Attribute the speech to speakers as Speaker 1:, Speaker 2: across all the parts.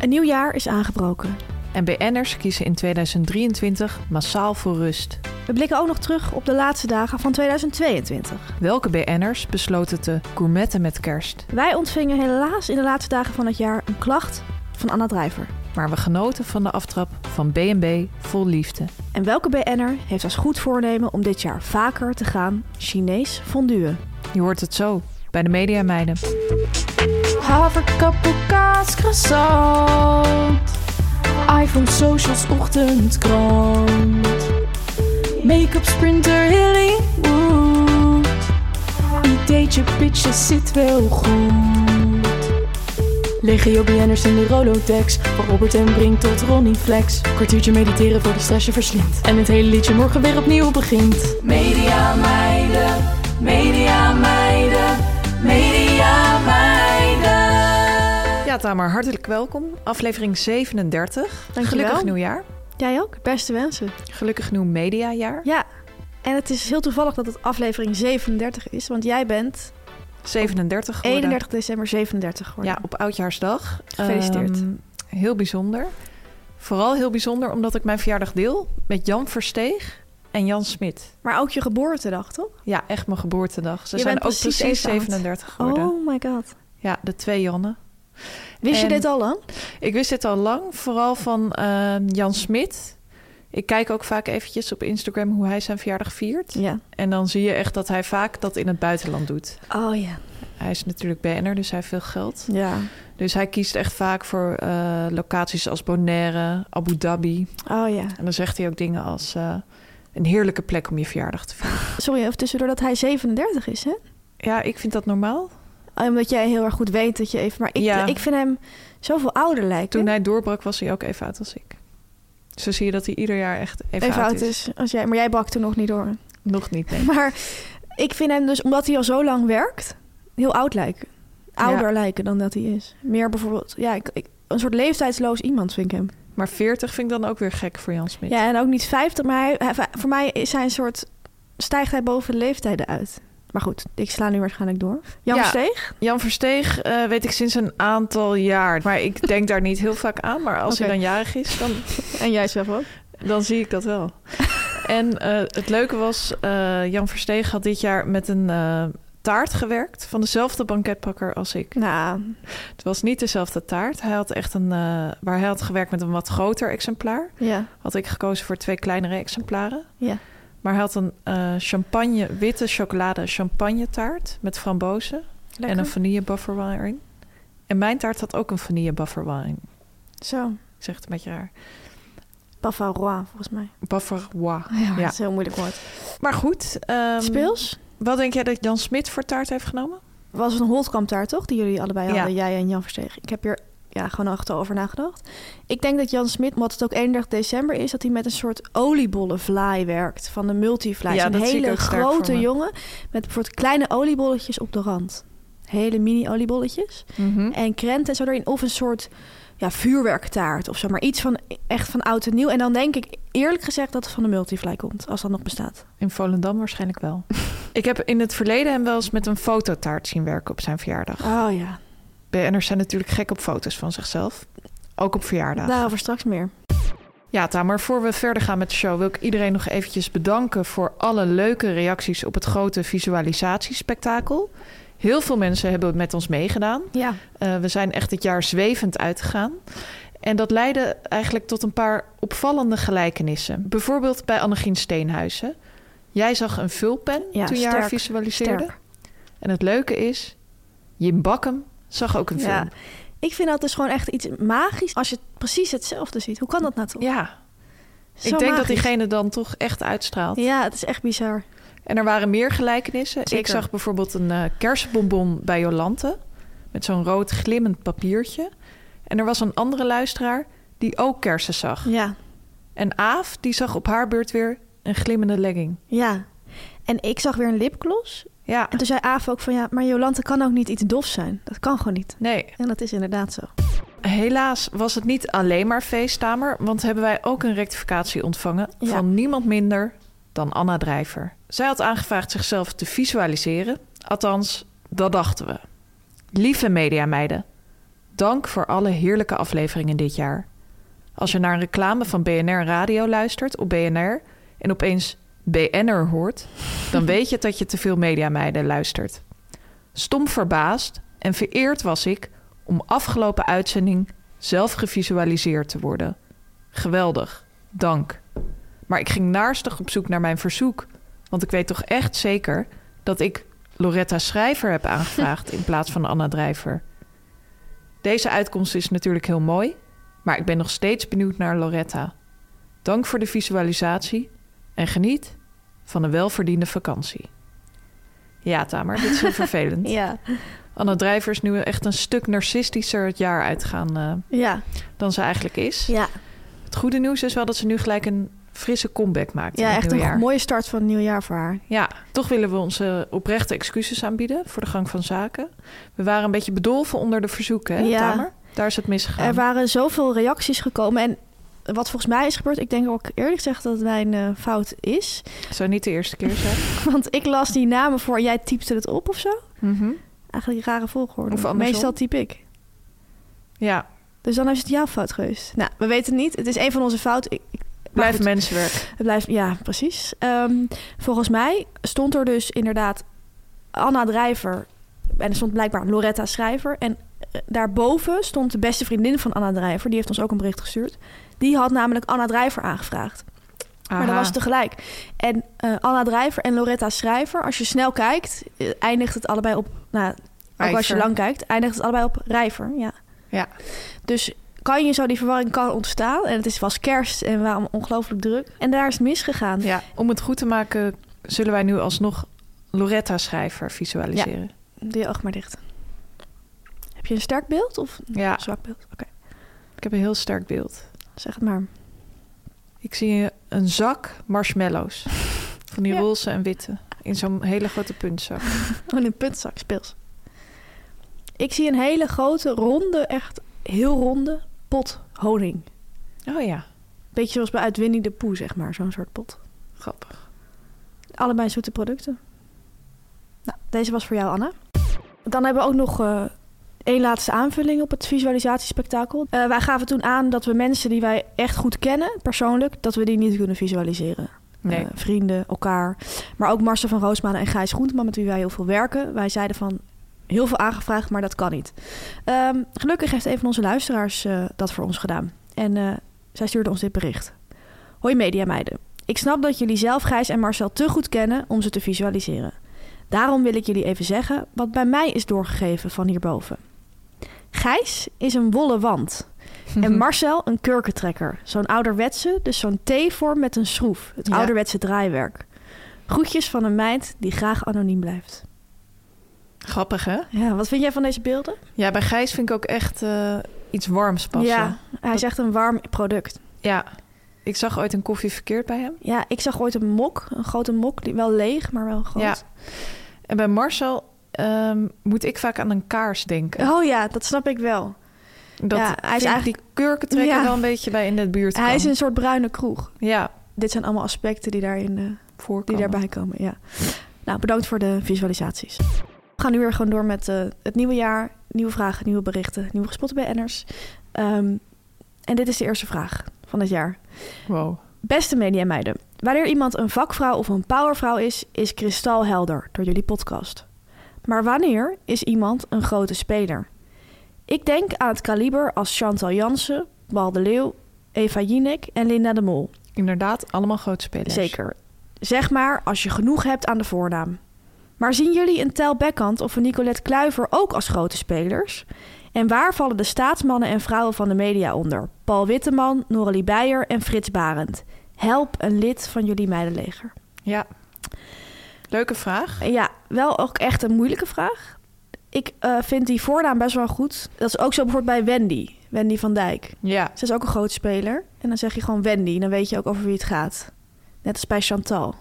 Speaker 1: Een nieuw jaar is aangebroken.
Speaker 2: En BN'ers kiezen in 2023 massaal voor rust.
Speaker 1: We blikken ook nog terug op de laatste dagen van 2022.
Speaker 2: Welke BN'ers besloten te gourmetten met kerst?
Speaker 1: Wij ontvingen helaas in de laatste dagen van het jaar een klacht van Anna Drijver.
Speaker 2: Maar we genoten van de aftrap van B&B vol liefde.
Speaker 1: En welke BN'er heeft als goed voornemen om dit jaar vaker te gaan Chinees fonduen?
Speaker 2: Je hoort het zo bij de Media Meiden.
Speaker 3: Haverkappelkaas, croissant. iPhone, socials, ochtendkrant. Make-up, sprinter, Hollywood. Ideetje, pitjes, zit wel goed. Legio BN'ers in de Rolodex. Van Robert en Brink tot Ronnie Flex. Kwartiertje mediteren voor de stress je verslindt. En het hele liedje morgen weer opnieuw begint. Media meiden, media meiden, media meiden.
Speaker 2: Ja, Tamer, hartelijk welkom. Aflevering 37.
Speaker 1: Dankjewel.
Speaker 2: Gelukkig nieuwjaar.
Speaker 1: Jij ook? Beste wensen.
Speaker 2: Gelukkig nieuw mediajaar.
Speaker 1: Ja, en het is heel toevallig dat het aflevering 37 is, want jij bent
Speaker 2: 37 geworden.
Speaker 1: 31 december 37 geworden.
Speaker 2: Ja, op Oudjaarsdag.
Speaker 1: Gefeliciteerd.
Speaker 2: Ehm, heel bijzonder. Vooral heel bijzonder omdat ik mijn verjaardag deel met Jan Versteeg en Jan Smit.
Speaker 1: Maar ook je geboortedag, toch?
Speaker 2: Ja, echt mijn geboortedag. Ze
Speaker 1: Je
Speaker 2: zijn
Speaker 1: bent
Speaker 2: ook
Speaker 1: precies
Speaker 2: precies,
Speaker 1: even oud.
Speaker 2: 37 geworden.
Speaker 1: Oh my god.
Speaker 2: Ja, de twee Jannen.
Speaker 1: Wist
Speaker 2: En-
Speaker 1: je dit al lang?
Speaker 2: Ik wist dit al lang, vooral van eh, Jan Smit. Ik kijk ook vaak eventjes op Instagram hoe hij zijn verjaardag viert.
Speaker 1: Ja.
Speaker 2: En dan zie je echt dat hij vaak dat in het buitenland doet.
Speaker 1: Oh ja.
Speaker 2: Hij is natuurlijk BN'er, dus hij heeft veel geld.
Speaker 1: Ja.
Speaker 2: Dus hij kiest echt vaak voor eh, locaties als Bonaire, Abu Dhabi.
Speaker 1: Oh ja.
Speaker 2: En dan zegt hij ook dingen als eh, een heerlijke plek om je verjaardag te vieren.
Speaker 1: Sorry, even tussendoor dat hij 37 is, hè?
Speaker 2: Ja, ik vind dat normaal.
Speaker 1: Omdat jij heel erg goed weet dat je even... Maar ik,
Speaker 2: Ja.
Speaker 1: ik vind hem zoveel ouder lijken.
Speaker 2: Toen hij doorbrak was hij ook even oud als ik. Zo zie je dat hij ieder jaar echt even,
Speaker 1: even oud is. Als jij, maar jij brak toen nog niet door.
Speaker 2: Nog niet, nee.
Speaker 1: Maar ik vind hem dus, omdat hij al zo lang werkt, heel oud lijken. Ouder lijken dan dat hij is. Meer bijvoorbeeld... Ja, ik, ik- een soort leeftijdsloos iemand vind ik hem.
Speaker 2: Maar 40 vind ik dan ook weer gek voor Jan Smit.
Speaker 1: Ja, en ook niet 50, maar hij, hij- voor mij is hij een soort... Stijgt hij boven de leeftijden uit. Maar goed, ik sla nu waarschijnlijk door. Jan
Speaker 2: Ja.
Speaker 1: Steeg?
Speaker 2: Jan Versteeg eh, weet ik sinds een aantal jaar. Maar ik denk daar niet heel vaak aan. Maar als
Speaker 1: Oké.
Speaker 2: hij dan jarig is, dan,
Speaker 1: En jij zelf ook?
Speaker 2: dan zie ik dat wel. en eh, het leuke was, eh, Jan Versteeg had dit jaar met een eh, taart gewerkt. Van dezelfde banketbakker als ik.
Speaker 1: Nou,
Speaker 2: Het was niet dezelfde taart. Hij had echt een, eh, waar hij had gewerkt met een wat groter exemplaar.
Speaker 1: ja.
Speaker 2: Had ik gekozen voor twee kleinere exemplaren.
Speaker 1: Ja.
Speaker 2: Maar hij had een eh, champagne, witte chocolade champagne taart met frambozen.
Speaker 1: Lekker.
Speaker 2: En een vanille buffer wine. En mijn taart had ook een vanille buffer wine.
Speaker 1: Zo.
Speaker 2: Ik zeg het een beetje raar.
Speaker 1: Bavarois, volgens mij.
Speaker 2: Buffer
Speaker 1: Oh, Ja, dat is een heel moeilijk woord.
Speaker 2: Maar goed. ehm,
Speaker 1: Speels?
Speaker 2: Wat denk jij dat Jan Smit voor taart heeft genomen?
Speaker 1: Was een Holtkamp daar toch? Die jullie allebei
Speaker 2: Ja.
Speaker 1: hadden, jij en Jan Versteeg. Ik heb hier ja, gewoon achter over nagedacht. Ik denk dat Jan Smit, omdat het ook 31 december is, dat hij met een soort oliebollenvlaai werkt. Van de multivlaai.
Speaker 2: Ja,
Speaker 1: Zo'n
Speaker 2: dat zie ik
Speaker 1: hele
Speaker 2: ook sterk
Speaker 1: grote
Speaker 2: voor me.
Speaker 1: jongen met soort kleine oliebolletjes op de rand. Hele mini oliebolletjes.
Speaker 2: Hm?
Speaker 1: En krenten en zo erin. Of een soort ja, vuurwerktaart of zo. Maar iets van echt van oud en nieuw. En dan denk ik eerlijk gezegd dat het van de multivlaai komt. Als dat nog bestaat.
Speaker 2: In Volendam waarschijnlijk wel. ik heb in het verleden hem wel eens met een fototaart zien werken op zijn verjaardag.
Speaker 1: Oh ja,
Speaker 2: BN'ers zijn natuurlijk gek op foto's van zichzelf. Ook op verjaardag.
Speaker 1: daarover straks meer.
Speaker 2: Ja, Tamer, voor we verder gaan met de show wil ik iedereen nog eventjes bedanken voor alle leuke reacties op het grote visualisatiespektakel. Heel veel mensen hebben het met ons meegedaan.
Speaker 1: Ja.
Speaker 2: Eh, we zijn echt dit jaar zwevend uitgegaan. En dat leidde eigenlijk tot een paar opvallende gelijkenissen. Bijvoorbeeld bij Annegien Steenhuizen. Jij zag een vulpen
Speaker 1: Ja,
Speaker 2: toen je haar
Speaker 1: sterk,
Speaker 2: visualiseerde.
Speaker 1: sterk.
Speaker 2: En het leuke is, Jim Bakkum zag ook een film.
Speaker 1: Ja. Ik vind dat dus gewoon echt iets magisch als je precies hetzelfde ziet. Hoe kan dat nou toch?
Speaker 2: Ja,
Speaker 1: Zo
Speaker 2: ik denk dat
Speaker 1: magisch.
Speaker 2: diegene dan toch echt uitstraalt.
Speaker 1: Ja, het is echt bizar.
Speaker 2: En er waren meer gelijkenissen. Ik
Speaker 1: Zeker.
Speaker 2: zag bijvoorbeeld een eh, kersenbonbon bij Jolante. Met zo'n rood glimmend papiertje. En er was een andere luisteraar die ook kersen zag.
Speaker 1: Ja,
Speaker 2: En Aaf, die zag op haar beurt weer een glimmende legging.
Speaker 1: ja. En ik zag weer een lipgloss.
Speaker 2: Ja,
Speaker 1: En toen zei Aaf ook van ja, maar Jolante kan ook niet iets dofs zijn. Dat kan gewoon niet.
Speaker 2: nee.
Speaker 1: En dat is inderdaad zo.
Speaker 2: Helaas was het niet alleen maar feesttamer. Want hebben wij ook een rectificatie ontvangen
Speaker 1: Ja.
Speaker 2: van niemand minder dan Anna Drijver. Zij had aangevraagd zichzelf te visualiseren. Althans, dat dachten we. Lieve mediameiden, dank voor alle heerlijke afleveringen dit jaar. Als je naar een reclame van BNR Radio luistert op BNR en opeens BNR hoort, dan weet je dat je te veel mediameiden luistert. Stom verbaasd en vereerd was ik om afgelopen uitzending zelf gevisualiseerd te worden. Geweldig, dank. Maar ik ging naarstig op zoek naar mijn verzoek, want ik weet toch echt zeker dat ik Loretta Schrijver heb aangevraagd in plaats van Anna Drijver. Deze uitkomst is natuurlijk heel mooi, maar ik ben nog steeds benieuwd naar Loretta. Dank voor de visualisatie en geniet van een welverdiende vakantie. Ja, Tamer, dit is heel vervelend.
Speaker 1: Ja,
Speaker 2: Anna Drijver is nu echt een stuk narcistischer het jaar uitgaan eh,
Speaker 1: ja,
Speaker 2: dan ze eigenlijk is.
Speaker 1: ja.
Speaker 2: Het goede nieuws is wel dat ze nu gelijk een frisse comeback maakt. in
Speaker 1: ja
Speaker 2: het
Speaker 1: echt een
Speaker 2: nieuwjaar.
Speaker 1: mooie start van het nieuwe jaar voor haar.
Speaker 2: Ja, toch willen we onze oprechte excuses aanbieden voor de gang van zaken. We waren een beetje bedolven onder de verzoeken, hè,
Speaker 1: Ja.
Speaker 2: Tamer? Daar is het misgegaan.
Speaker 1: Er waren zoveel reacties gekomen. En wat volgens mij is gebeurd, ik denk ook eerlijk gezegd dat het mijn eh, fout is.
Speaker 2: Zou niet de eerste keer zijn.
Speaker 1: Want ik las die namen voor, jij typte het op of zo.
Speaker 2: Mhm.
Speaker 1: Eigenlijk een rare volgorde.
Speaker 2: Of andersom.
Speaker 1: Meestal typ ik.
Speaker 2: Ja,
Speaker 1: Dus dan is het jouw fout geweest. Nou, we weten het niet. Het is een van onze fouten. Ik, ik, maar
Speaker 2: blijf
Speaker 1: goed,
Speaker 2: mensenwerk.
Speaker 1: het blijft, ja, precies. Ehm, volgens mij stond er dus inderdaad Anna Drijver. En er stond blijkbaar Loretta Schrijver. En eh, daarboven stond de beste vriendin van Anna Drijver. Die heeft ons ook een bericht gestuurd. Die had namelijk Anna Drijver aangevraagd. Maar dat
Speaker 2: Aha.
Speaker 1: was tegelijk. En eh, Anna Drijver en Loretta Schrijver, als je snel kijkt, eh, eindigt het allebei op. Nou, ook als je
Speaker 2: Rijver.
Speaker 1: lang kijkt, eindigt het allebei op Rijver. Ja.
Speaker 2: Ja.
Speaker 1: Dus kan je zo die verwarring kan ontstaan. En het is, was kerst en we waren ongelooflijk druk. En daar is het misgegaan.
Speaker 2: Ja, om het goed te maken zullen wij nu alsnog Loretta Schrijver visualiseren.
Speaker 1: Doe je oog maar dicht. Heb je een sterk beeld of een
Speaker 2: Ja,
Speaker 1: zwak beeld? Oké,
Speaker 2: ik heb een heel sterk beeld.
Speaker 1: zeg het maar.
Speaker 2: Ik zie een zak marshmallows. Van die
Speaker 1: Ja.
Speaker 2: roze en witte. In zo'n hele grote puntzak.
Speaker 1: Oh, in een puntzak, speels. Ik zie een hele grote, ronde, echt heel ronde pot honing.
Speaker 2: Oh ja,
Speaker 1: Beetje zoals bij Uit Winnie de Poe, zeg maar, zo'n soort pot.
Speaker 2: grappig.
Speaker 1: Allebei zoete producten. Nou, deze was voor jou, Anna. Dan hebben we ook nog eh, één laatste aanvulling op het visualisatiespektakel. Eh, wij gaven toen aan dat we mensen die wij echt goed kennen, persoonlijk, dat we die niet kunnen visualiseren.
Speaker 2: Nee.
Speaker 1: Eh, vrienden, elkaar. Maar ook Marcel van Roosmanen en Gijs Groenteman, met wie wij heel veel werken. Wij zeiden van, heel veel aangevraagd, maar dat kan niet. Ehm, gelukkig heeft een van onze luisteraars eh, dat voor ons gedaan. En eh, zij stuurde ons dit bericht. Hoi mediameiden. Ik snap dat jullie zelf Gijs en Marcel te goed kennen om ze te visualiseren. Daarom wil ik jullie even zeggen wat bij mij is doorgegeven van hierboven. Gijs is een wollen wand. En Marcel een kurkentrekker. Zo'n ouderwetse, dus zo'n T-vorm met een schroef. Het
Speaker 2: Ja.
Speaker 1: ouderwetse draaiwerk. Groetjes van een meid die graag anoniem blijft.
Speaker 2: Grappig hè?
Speaker 1: Ja, wat vind jij van deze beelden?
Speaker 2: Ja, bij Gijs vind ik ook echt eh, iets warms passen.
Speaker 1: Ja, hij is echt een warm product.
Speaker 2: Ja. Ik zag ooit een koffie verkeerd bij hem.
Speaker 1: Ja, ik zag ooit een mok. Een grote mok, die wel leeg, maar wel groot.
Speaker 2: Ja. En bij Marcel ehm, moet ik vaak aan een kaars denken.
Speaker 1: Oh ja, dat snap ik wel.
Speaker 2: Dat
Speaker 1: ja, hij is
Speaker 2: hij is eigenlijk
Speaker 1: eigenlijk-
Speaker 2: die kurkentrekker
Speaker 1: Ja.
Speaker 2: wel een beetje bij in de buurt
Speaker 1: Hij is
Speaker 2: kwam.
Speaker 1: een soort bruine kroeg.
Speaker 2: Ja,
Speaker 1: Dit zijn allemaal aspecten die, daarin, eh,
Speaker 2: voorkomen.
Speaker 1: die daarbij komen. Ja. Nou, bedankt voor de visualisaties. We gaan nu weer gewoon door met eh, het nieuwe jaar. Nieuwe vragen, nieuwe berichten, nieuwe gespotten bij Enners. Ehm, en dit is de eerste vraag van het jaar.
Speaker 2: Wow.
Speaker 1: Beste media en meiden, wanneer iemand een vakvrouw of een powervrouw is, is kristalhelder door jullie podcast. Maar wanneer is iemand een grote speler? Ik denk aan het kaliber als Chantal Jansen, Bal de Leeuw, Eva Jinek en Linda de Mol.
Speaker 2: Inderdaad, allemaal grote spelers.
Speaker 1: Zeker. Zeg maar als je genoeg hebt aan de voornaam. Maar zien jullie een Tel Beckhant of een Nicolette Kluiver ook als grote spelers? En waar vallen de staatsmannen en vrouwen van de media onder? Paul Witteman, Noralie Beijer en Frits Barend. Help een lid van jullie meidenleger.
Speaker 2: Ja. Leuke vraag.
Speaker 1: Ja, wel ook echt een moeilijke vraag. Ik eh, vind die voornaam best wel goed. Dat is ook zo bijvoorbeeld bij Wendy. Wendy van Dijk.
Speaker 2: Ja.
Speaker 1: Ze is ook een groot speler. En dan zeg je gewoon Wendy. Dan weet je ook over wie het gaat. Net als bij Chantal.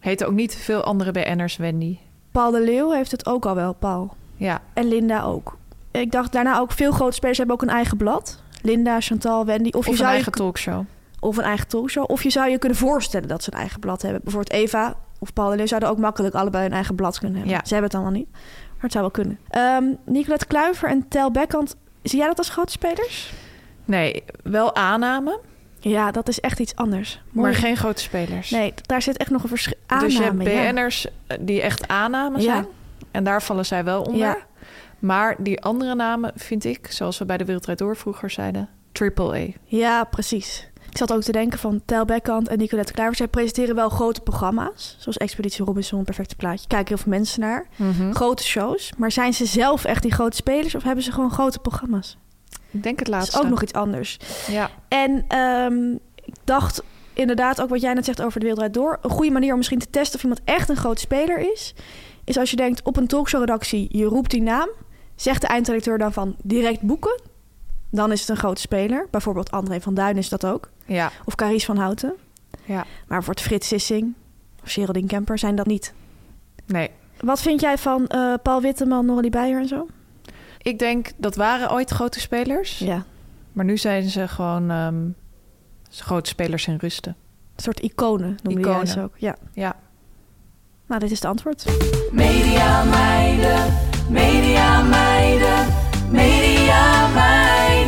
Speaker 2: Heten ook niet veel andere BN'ers Wendy.
Speaker 1: Paul de Leeuw heeft het ook al wel, Paul.
Speaker 2: Ja.
Speaker 1: En Linda ook. Ik dacht daarna ook, veel grote spelers hebben ook een eigen blad. Linda, Chantal, Wendy. Of,
Speaker 2: Of,
Speaker 1: je
Speaker 2: een
Speaker 1: zou je-
Speaker 2: eigen talkshow.
Speaker 1: of een eigen talkshow. Of je zou je kunnen voorstellen dat ze een eigen blad hebben. Bijvoorbeeld Eva of Paul de Leeuw zouden ook makkelijk allebei een eigen blad kunnen hebben.
Speaker 2: Ja.
Speaker 1: Ze hebben het allemaal niet. Maar het zou wel kunnen. Ehm Nicolette Kluiver en Tel Beckhant. Zie jij dat als grote spelers?
Speaker 2: Nee, wel aanname,
Speaker 1: Ja, dat is echt iets anders.
Speaker 2: maar
Speaker 1: Mooi.
Speaker 2: geen grote spelers.
Speaker 1: Nee, daar zit echt nog een verschil.
Speaker 2: dus je hebt
Speaker 1: Aanname, ja.
Speaker 2: BN'ers eh, die echt aanname
Speaker 1: Ja.
Speaker 2: zijn. En daar vallen zij wel onder.
Speaker 1: Ja.
Speaker 2: Maar die andere namen vind ik, zoals we bij de Wereldrijd Door vroeger zeiden, triple A.
Speaker 1: Ja, precies. Ik zat ook te denken van Tel Bekkant en Nicolette Kluivert. Zij presenteren wel grote programma's. Zoals Expeditie Robinson, Perfecte Plaatje. Kijken heel veel mensen naar. Grote shows. Maar zijn ze zelf echt die grote spelers? Of hebben ze gewoon grote programma's?
Speaker 2: Ik denk het
Speaker 1: Dat
Speaker 2: laatste.
Speaker 1: is ook nog iets anders.
Speaker 2: Ja.
Speaker 1: En ehm, ik dacht inderdaad ook wat jij net zegt over de Wereldraad Door. Een goede manier om misschien te testen of iemand echt een grote speler is... is als je denkt op een talkshowredactie, je roept die naam... zegt de eindredacteur dan van direct boeken... dan is het een grote speler. Bijvoorbeeld André van Duin is dat ook.
Speaker 2: Ja.
Speaker 1: Of Caries van Houten.
Speaker 2: ja.
Speaker 1: Maar voor het Frits Sissing of Geraldine Kemper zijn dat niet.
Speaker 2: Nee.
Speaker 1: Wat vind jij van eh, Paul Witteman, Norrie Beijer en zo?
Speaker 2: Ik denk dat waren ooit grote spelers.
Speaker 1: Ja.
Speaker 2: Maar nu zijn ze gewoon ehm, grote spelers in rusten.
Speaker 1: Een soort iconen noemde jij
Speaker 2: Iconen.
Speaker 1: ze ook. Ja.
Speaker 2: Ja.
Speaker 1: Nou, dit is het antwoord.
Speaker 3: Media meiden, media meiden, media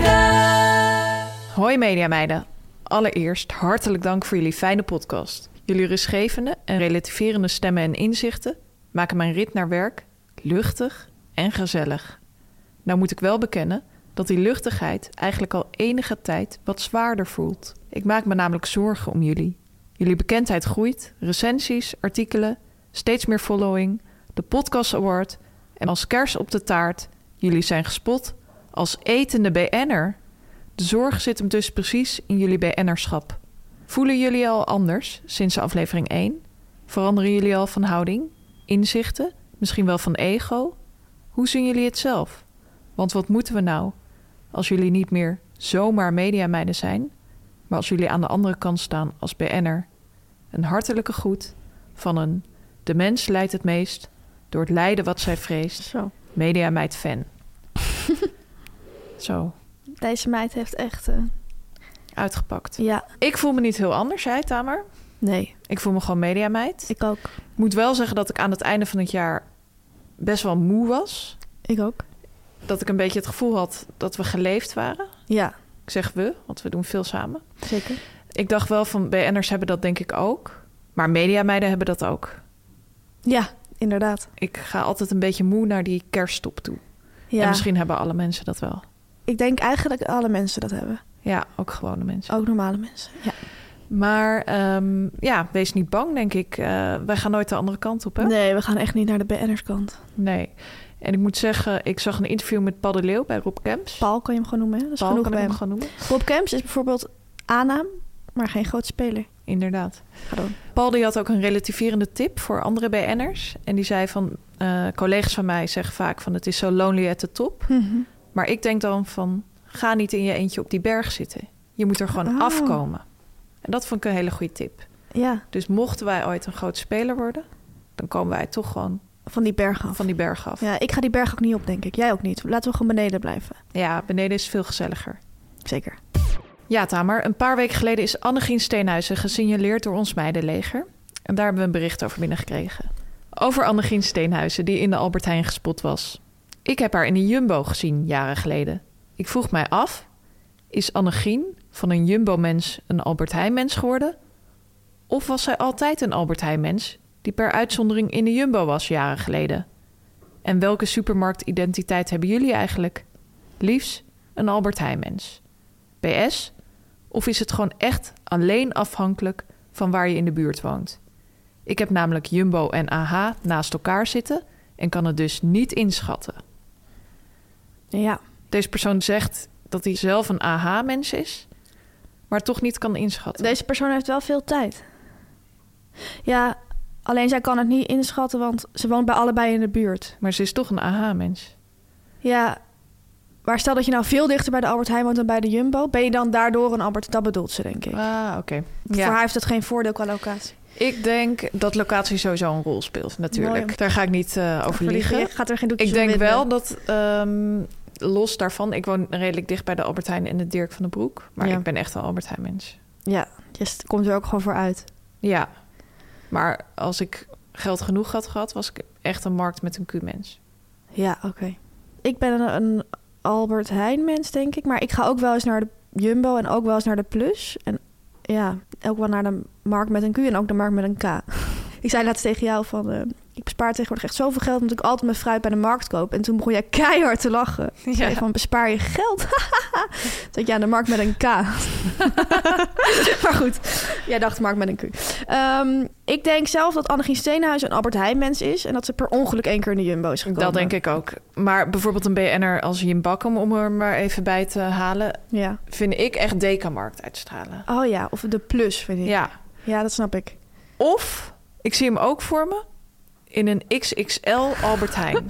Speaker 3: meiden.
Speaker 2: Hoi Mediameiden. Allereerst hartelijk dank voor jullie fijne podcast. Jullie rustgevende en relativerende stemmen en inzichten maken mijn rit naar werk luchtig en gezellig. Nou moet ik wel bekennen dat die luchtigheid eigenlijk al enige tijd wat zwaarder voelt. Ik maak me namelijk zorgen om jullie. Jullie bekendheid groeit, recensies, artikelen, steeds meer following, de podcast award en als kers op de taart, jullie zijn gespot als etende BN'er. De zorg zit hem dus precies in jullie BN'erschap. Voelen jullie al anders sinds aflevering 1? Veranderen jullie al van houding, inzichten, misschien wel van ego? Hoe zien jullie het zelf? Want wat moeten we nou als jullie niet meer zomaar mediameiden zijn, maar als jullie aan de andere kant staan als BN'er? Een hartelijke groet van een de mens lijdt het meest door het lijden wat zij vreest,
Speaker 1: Zo.
Speaker 2: mediameid fan. Zo,
Speaker 1: Deze meid heeft echt... eh,
Speaker 2: uitgepakt.
Speaker 1: Ja.
Speaker 2: Ik voel me niet heel anders, jij Tamer.
Speaker 1: Nee,
Speaker 2: Ik voel me gewoon mediameid. Ik
Speaker 1: ik ook.
Speaker 2: moet wel zeggen dat ik aan het einde van het jaar best wel moe was.
Speaker 1: Ik ook.
Speaker 2: Dat ik een beetje het gevoel had dat we geleefd waren.
Speaker 1: Ja,
Speaker 2: Ik zeg we, want we doen veel samen.
Speaker 1: zeker.
Speaker 2: Ik dacht wel van BN'ers hebben dat denk ik ook. Maar mediameiden hebben dat ook.
Speaker 1: Ja, inderdaad.
Speaker 2: Ik ga altijd een beetje moe naar die kerststop toe. En
Speaker 1: Ja.
Speaker 2: misschien hebben alle mensen dat wel.
Speaker 1: Ik denk eigenlijk dat alle mensen dat hebben.
Speaker 2: Ja, ook gewone mensen.
Speaker 1: Ook normale mensen. Ja.
Speaker 2: Maar ehm, ja, wees niet bang, denk ik. Eh, wij gaan nooit de andere kant op, hè?
Speaker 1: Nee, we gaan echt niet naar de BN'erskant.
Speaker 2: Nee. En ik moet zeggen, ik zag een interview met Paul de Leeuw bij Rob Kemps.
Speaker 1: Paul kan je hem gewoon noemen, hè? Dat is
Speaker 2: Paul
Speaker 1: genoeg
Speaker 2: kan ik
Speaker 1: bij hem.
Speaker 2: hem gaan noemen.
Speaker 1: Rob Camps is bijvoorbeeld aannaam, maar geen groot speler.
Speaker 2: Inderdaad.
Speaker 1: Ga door.
Speaker 2: Paul die had ook een relativerende tip voor andere BN'ers. En die zei van, eh, collega's van mij zeggen vaak van het is zo lonely at the top.
Speaker 1: Mhm.
Speaker 2: Maar ik denk dan van, ga niet in je eentje op die berg zitten. Je moet er gewoon
Speaker 1: Oh.
Speaker 2: afkomen. En dat vond ik een hele goede tip.
Speaker 1: Ja,
Speaker 2: Dus mochten wij ooit een groot speler worden, dan komen wij toch gewoon
Speaker 1: van die berg af.
Speaker 2: van die berg af. Ja,
Speaker 1: Ja, ik ga die berg ook niet op, denk ik. Jij ook niet. Laten we gewoon beneden blijven.
Speaker 2: beneden is veel gezelliger.
Speaker 1: Zeker.
Speaker 2: Ja, Tamer. Een paar weken geleden is Annegien Steenhuizen gesignaleerd door ons meidenleger. En daar hebben we een bericht over binnengekregen. Over Annegien Steenhuizen, die in de Albert Heijn gespot was. Ik heb haar in de Jumbo gezien, jaren geleden. Ik vroeg mij af, is Annegien van een Jumbo-mens een Albert Heijn-mens geworden? Of was zij altijd een Albert Heijn-mens die per uitzondering in de Jumbo was, jaren geleden? En welke supermarktidentiteit hebben jullie eigenlijk? Liefst een Albert Heijmens. PS? Of is het gewoon echt alleen afhankelijk van waar je in de buurt woont? Ik heb namelijk Jumbo en AH naast elkaar zitten en kan het dus niet inschatten.
Speaker 1: Ja.
Speaker 2: Deze persoon zegt dat hij zelf een AH-mens is, maar toch niet kan inschatten.
Speaker 1: Deze persoon heeft wel veel tijd. Ja, alleen zij kan het niet inschatten, want ze woont bij allebei in de buurt.
Speaker 2: Maar ze is toch een AH-mens.
Speaker 1: Ja, maar stel dat je nou veel dichter bij de Albert Heijn woont dan bij de Jumbo, ben je dan daardoor een Albert? Dat bedoelt ze, denk ik.
Speaker 2: Ah, oké.
Speaker 1: Voor haar heeft het geen voordeel qua locatie.
Speaker 2: Ik denk dat locatie sowieso een rol speelt, natuurlijk.
Speaker 1: Mooi om-
Speaker 2: Daar ga ik niet eh, over liegen.
Speaker 1: Gaat er geen doekjes
Speaker 2: Ik
Speaker 1: om
Speaker 2: denk
Speaker 1: winden.
Speaker 2: wel dat, ehm, los daarvan... Ik woon redelijk dicht bij de Albert Heijn en de Dirk van den Broek. Maar
Speaker 1: Ja.
Speaker 2: ik ben echt een Albert Heijn mens.
Speaker 1: Ja, je st- komt er ook gewoon voor uit.
Speaker 2: Ja, maar als ik geld genoeg had gehad... was ik echt een markt met een Q-mens.
Speaker 1: Ja, oké. Ik ben een, een Albert Heijn mens, denk ik. Maar ik ga ook wel eens naar de Jumbo en ook wel eens naar de Plus. En ja, ook wel naar de markt met een Q en ook de markt met een K. ik zei laatst tegen jou van... eh, ik bespaar tegenwoordig echt zoveel geld... omdat ik altijd mijn fruit bij de markt koop. En toen begon jij keihard te lachen. Ik zei van, bespaar je geld? dat ja, de markt met een K. maar goed, jij dacht markt met een Q. Ehm, ik denk zelf dat Annegien Steenhuis een Albert Heijn mens is... en dat ze per ongeluk één keer in de Jumbo is gekomen.
Speaker 2: Dat denk ik ook. Maar bijvoorbeeld een BN'er als Jim Bakkum... om er maar even bij te halen...
Speaker 1: Ja.
Speaker 2: vind ik echt Dekamarkt uitstralen.
Speaker 1: Oh ja, of de plus vind ik. Ja,
Speaker 2: Ja,
Speaker 1: dat snap ik.
Speaker 2: Of, ik zie hem ook voor me, in een XXL Albert Heijn.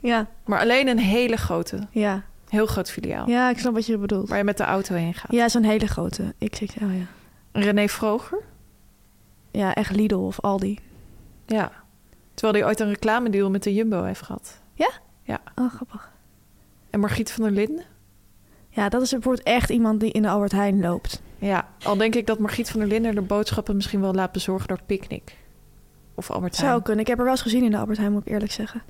Speaker 1: Ja,
Speaker 2: maar alleen een hele grote,
Speaker 1: ja.
Speaker 2: heel groot filiaal.
Speaker 1: Ja, ik snap wat je bedoelt.
Speaker 2: Waar je met de auto heen gaat.
Speaker 1: Ja, zo'n hele grote. Ik zeg, oh ja.
Speaker 2: René Vroger?
Speaker 1: Ja, echt Lidl of Aldi.
Speaker 2: Ja. Terwijl hij ooit een reclamedeal met de Jumbo heeft gehad.
Speaker 1: Oh, grappig.
Speaker 2: En Margriet van der Linden?
Speaker 1: Ja, dat is bijvoorbeeld echt iemand die in de Albert Heijn loopt.
Speaker 2: Ja, al denk ik dat Margriet van der Linden de boodschappen misschien wel laat bezorgen door Picnic. Of Albert Heijn.
Speaker 1: Zou kunnen. Ik heb er wel eens gezien in de Albert Heijn, moet ik eerlijk zeggen.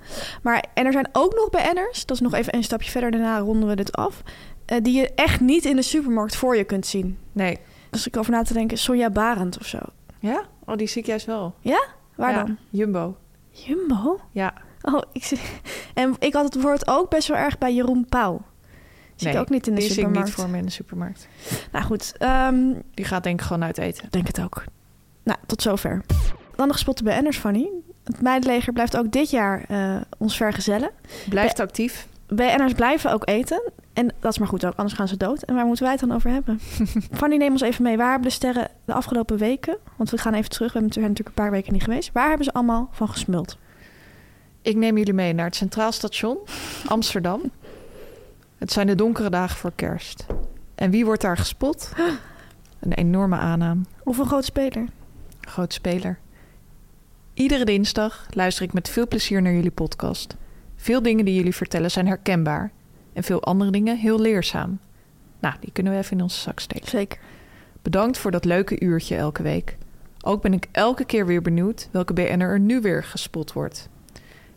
Speaker 1: Maar, en er zijn ook nog BN'ers, dat is nog even een stapje verder, daarna ronden we dit af, eh, die je echt niet in de supermarkt voor je kunt zien.
Speaker 2: Nee.
Speaker 1: Als ik over na te denken, Sonja Barend of zo.
Speaker 2: Ja? Oh, die zie ik juist wel.
Speaker 1: Waar
Speaker 2: Ja,
Speaker 1: dan?
Speaker 2: Jumbo.
Speaker 1: Jumbo?
Speaker 2: Ja.
Speaker 1: Oh, ik zie... En ik had het woord ook best wel erg bij Jeroen Pauw. Zie
Speaker 2: Nee,
Speaker 1: ik ook niet in de
Speaker 2: die zie ik
Speaker 1: supermarkt.
Speaker 2: niet voor me in de supermarkt.
Speaker 1: Nou goed, ehm, ik
Speaker 2: Die gaat denk ik gewoon uit eten.
Speaker 1: denk het ook. Nou, tot zover. Dan nog spotten bij Enners, Fanny. Het meidenleger blijft ook dit jaar eh, ons vergezellen.
Speaker 2: Blijft actief.
Speaker 1: BN'ers blijven ook eten. En dat is maar goed ook, anders gaan ze dood. En waar moeten wij het dan over hebben? Fanny, neem ons even mee. Waar hebben de sterren de afgelopen weken... want we gaan even terug, we hebben- zijn natuurlijk een paar weken niet geweest... waar hebben ze allemaal van gesmuld?
Speaker 2: Ik neem jullie mee naar het Centraal Station, Amsterdam. Het zijn de donkere dagen voor kerst. En wie wordt daar gespot? Een enorme aannaam,
Speaker 1: Of een groot speler?
Speaker 2: groot speler. Iedere dinsdag luister ik met veel plezier naar jullie podcast. Veel dingen die jullie vertellen zijn herkenbaar. En veel andere dingen heel leerzaam. Nou, die kunnen we even in onze zak steken.
Speaker 1: Zeker.
Speaker 2: Bedankt voor dat leuke uurtje elke week. Ook ben ik elke keer weer benieuwd welke BN'er er nu weer gespot wordt.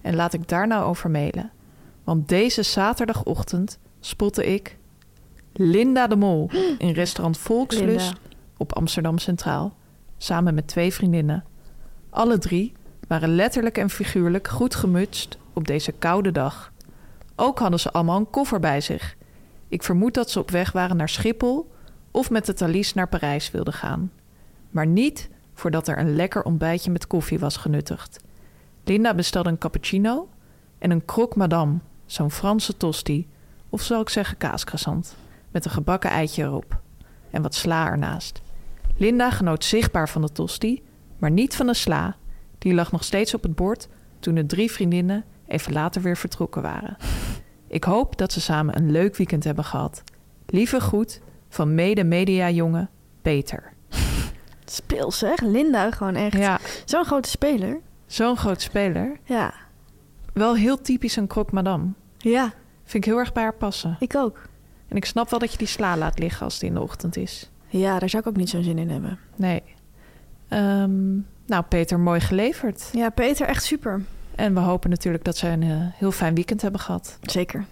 Speaker 2: En laat ik daar nou over mailen. Want deze zaterdagochtend spotte ik Linda de Mol in restaurant Volkslust
Speaker 1: Linda.
Speaker 2: op Amsterdam Centraal. Samen met twee vriendinnen. Alle drie waren letterlijk en figuurlijk goed gemutst op deze koude dag. Ook hadden ze allemaal een koffer bij zich. Ik vermoed dat ze op weg waren naar Schiphol of met de Thalys naar Parijs wilden gaan. Maar niet voordat er een lekker ontbijtje met koffie was genuttigd. Linda bestelde een cappuccino en een croque madame, zo'n Franse tosti, of zal ik zeggen kaascroissant, met een gebakken eitje erop en wat sla ernaast. Linda genoot zichtbaar van de tosti, maar niet van de sla. Die lag nog steeds op het bord toen de drie vriendinnen even later weer vertrokken waren. Ik hoop dat ze samen een leuk weekend hebben gehad. Lieve groet van mede-media-jongen Peter.
Speaker 1: Speel zeg, Linda gewoon echt.
Speaker 2: Ja,
Speaker 1: Zo'n grote speler.
Speaker 2: zo'n groot speler.
Speaker 1: Ja.
Speaker 2: Wel heel typisch een croque madame.
Speaker 1: Ja,
Speaker 2: Vind ik heel erg bij haar passen.
Speaker 1: ik ook.
Speaker 2: En ik snap wel dat je die sla laat liggen als het in de ochtend is.
Speaker 1: Ja, daar zou ik ook niet zo'n zin in hebben.
Speaker 2: Nee. Ehm, nou, Peter, mooi geleverd.
Speaker 1: Ja, Peter, echt super.
Speaker 2: En we hopen natuurlijk dat zij een eh, heel fijn weekend hebben gehad.
Speaker 1: Zeker.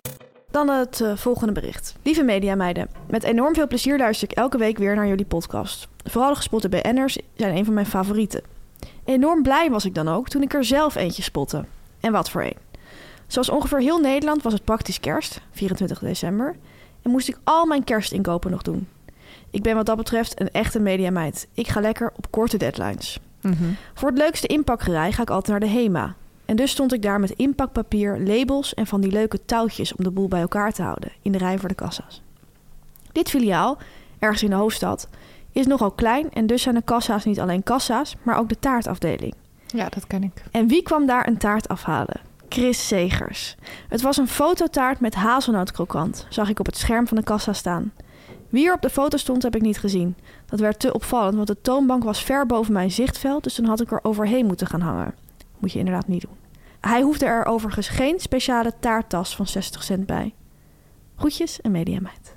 Speaker 1: Dan het eh, volgende bericht. Lieve mediameiden, met enorm veel plezier luister ik elke week weer naar jullie podcast. Vooral de gespotte BN'ers zijn een van mijn favorieten. Enorm blij was ik dan ook toen ik er zelf eentje spotte. En wat voor een. Zoals ongeveer heel Nederland was het praktisch kerst, 24 december. En moest ik al mijn kerstinkopen nog doen. Ik ben wat dat betreft een echte mediameid. Ik ga lekker op korte deadlines. Voor het leukste inpakgerij ga ik altijd naar de HEMA. En dus stond ik daar met inpakpapier, labels en van die leuke touwtjes om de boel bij elkaar te houden in de rij voor de kassa's. Dit filiaal, ergens in de hoofdstad, is nogal klein en dus zijn de kassa's niet alleen kassa's, maar ook de taartafdeling.
Speaker 2: Ja, dat ken ik.
Speaker 1: En wie kwam daar een taart afhalen? Chris Segers. Het was een fototaart met hazelnootkrokant, zag ik op het scherm van de kassa staan. Wie er op de foto stond, heb ik niet gezien. Dat werd te opvallend, want de toonbank was ver boven mijn zichtveld, dus dan had ik er overheen moeten gaan hangen. Moet je inderdaad niet doen. Hij hoefde er overigens geen speciale taarttas van 60 cent bij. Groetjes en mediameid.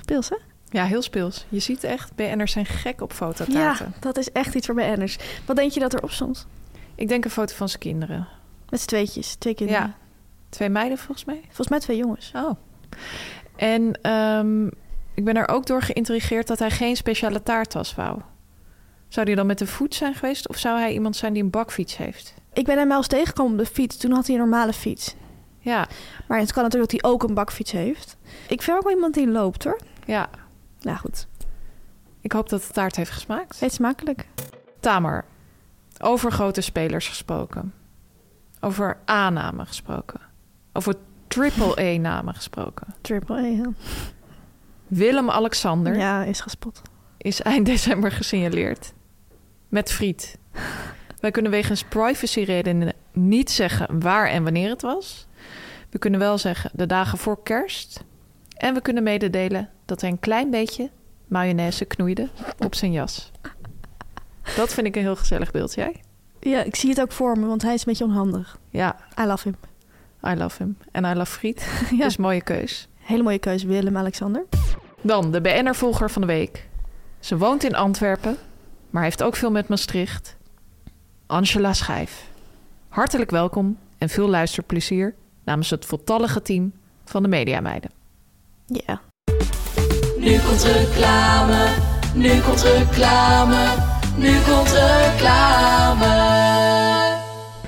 Speaker 1: Speels, hè?
Speaker 2: Ja, heel speels. Je ziet echt, BN'ers zijn gek op fototaarten.
Speaker 1: Ja, dat is echt iets voor mij anders. Wat denk je dat erop stond?
Speaker 2: Ik denk een foto van zijn kinderen.
Speaker 1: Met z'n tweetjes, twee kinderen.
Speaker 2: Ja. Twee meiden volgens mij.
Speaker 1: Volgens mij twee jongens.
Speaker 2: Oh. En ehm, ik ben er ook door geïntrigeerd dat hij geen speciale taarttas wou. Zou die dan met de voet zijn geweest? Of zou hij iemand zijn die een bakfiets heeft?
Speaker 1: Ik ben hem wel eens tegengekomen op de fiets. Toen had hij een normale fiets.
Speaker 2: Ja,
Speaker 1: Maar het kan natuurlijk dat hij ook een bakfiets heeft. Ik vind ook wel iemand die loopt hoor.
Speaker 2: ja.
Speaker 1: Nou goed,
Speaker 2: Ik hoop dat de taart heeft gesmaakt.
Speaker 1: steeds makkelijk.
Speaker 2: Tamer, over grote spelers gesproken. Over A-namen gesproken. Over triple-E-namen gesproken.
Speaker 1: Triple E. ja.
Speaker 2: Willem-Alexander
Speaker 1: Ja, is gespot.
Speaker 2: is eind december gesignaleerd. Met friet. Wij kunnen wegens privacyredenen niet zeggen waar en wanneer het was. We kunnen wel zeggen de dagen voor kerst. En we kunnen mededelen dat hij een klein beetje mayonaise knoeide op zijn jas. Dat vind ik een heel gezellig beeld, jij?
Speaker 1: Ja, ik zie het ook voor me, want hij is een beetje onhandig.
Speaker 2: Ja,
Speaker 1: I love him.
Speaker 2: I love him. En I love friet.
Speaker 1: Ja.
Speaker 2: Dus mooie keus.
Speaker 1: Hele mooie keuze, Willem-Alexander.
Speaker 2: Dan de BN'er-volger van de week. Ze woont in Antwerpen, maar heeft ook veel met Maastricht. Angela Schijf. Hartelijk welkom en veel luisterplezier namens het voltallige team van de Mediameiden.
Speaker 1: Ja.
Speaker 3: Nu komt reclame, nu komt reclame, nu komt reclame.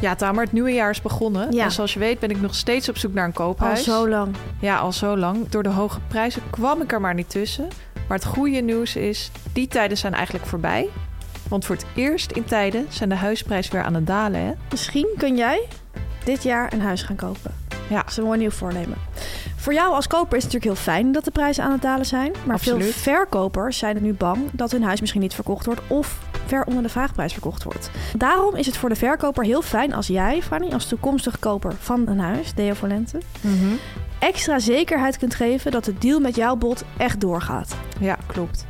Speaker 2: Ja, Tamer, het nieuwe jaar is begonnen.
Speaker 1: Ja.
Speaker 2: En zoals je weet ben ik nog steeds op zoek naar een
Speaker 1: Al
Speaker 2: koophuis.
Speaker 1: zo lang.
Speaker 2: Ja, al zo lang. Door de hoge prijzen kwam ik er maar niet tussen. Maar het goede nieuws is, die tijden zijn eigenlijk voorbij. Want voor het eerst in tijden zijn de huisprijzen weer aan het dalen, hè?
Speaker 1: Misschien kun jij dit jaar een huis gaan kopen.
Speaker 2: Ja.
Speaker 1: Dat is een mooi nieuw voornemen. Voor jou als koper is het natuurlijk heel fijn dat de prijzen aan het dalen zijn. Maar veel
Speaker 2: Absoluut.
Speaker 1: verkopers zijn er nu bang dat hun huis misschien niet verkocht wordt of ver onder de vraagprijs verkocht wordt. Daarom is het voor de verkoper heel fijn als jij, Fanny, als toekomstig koper van een huis, Deo Volente,
Speaker 2: Mhm.
Speaker 1: extra zekerheid kunt geven dat de deal met jouw bod echt doorgaat.
Speaker 2: Ja, klopt.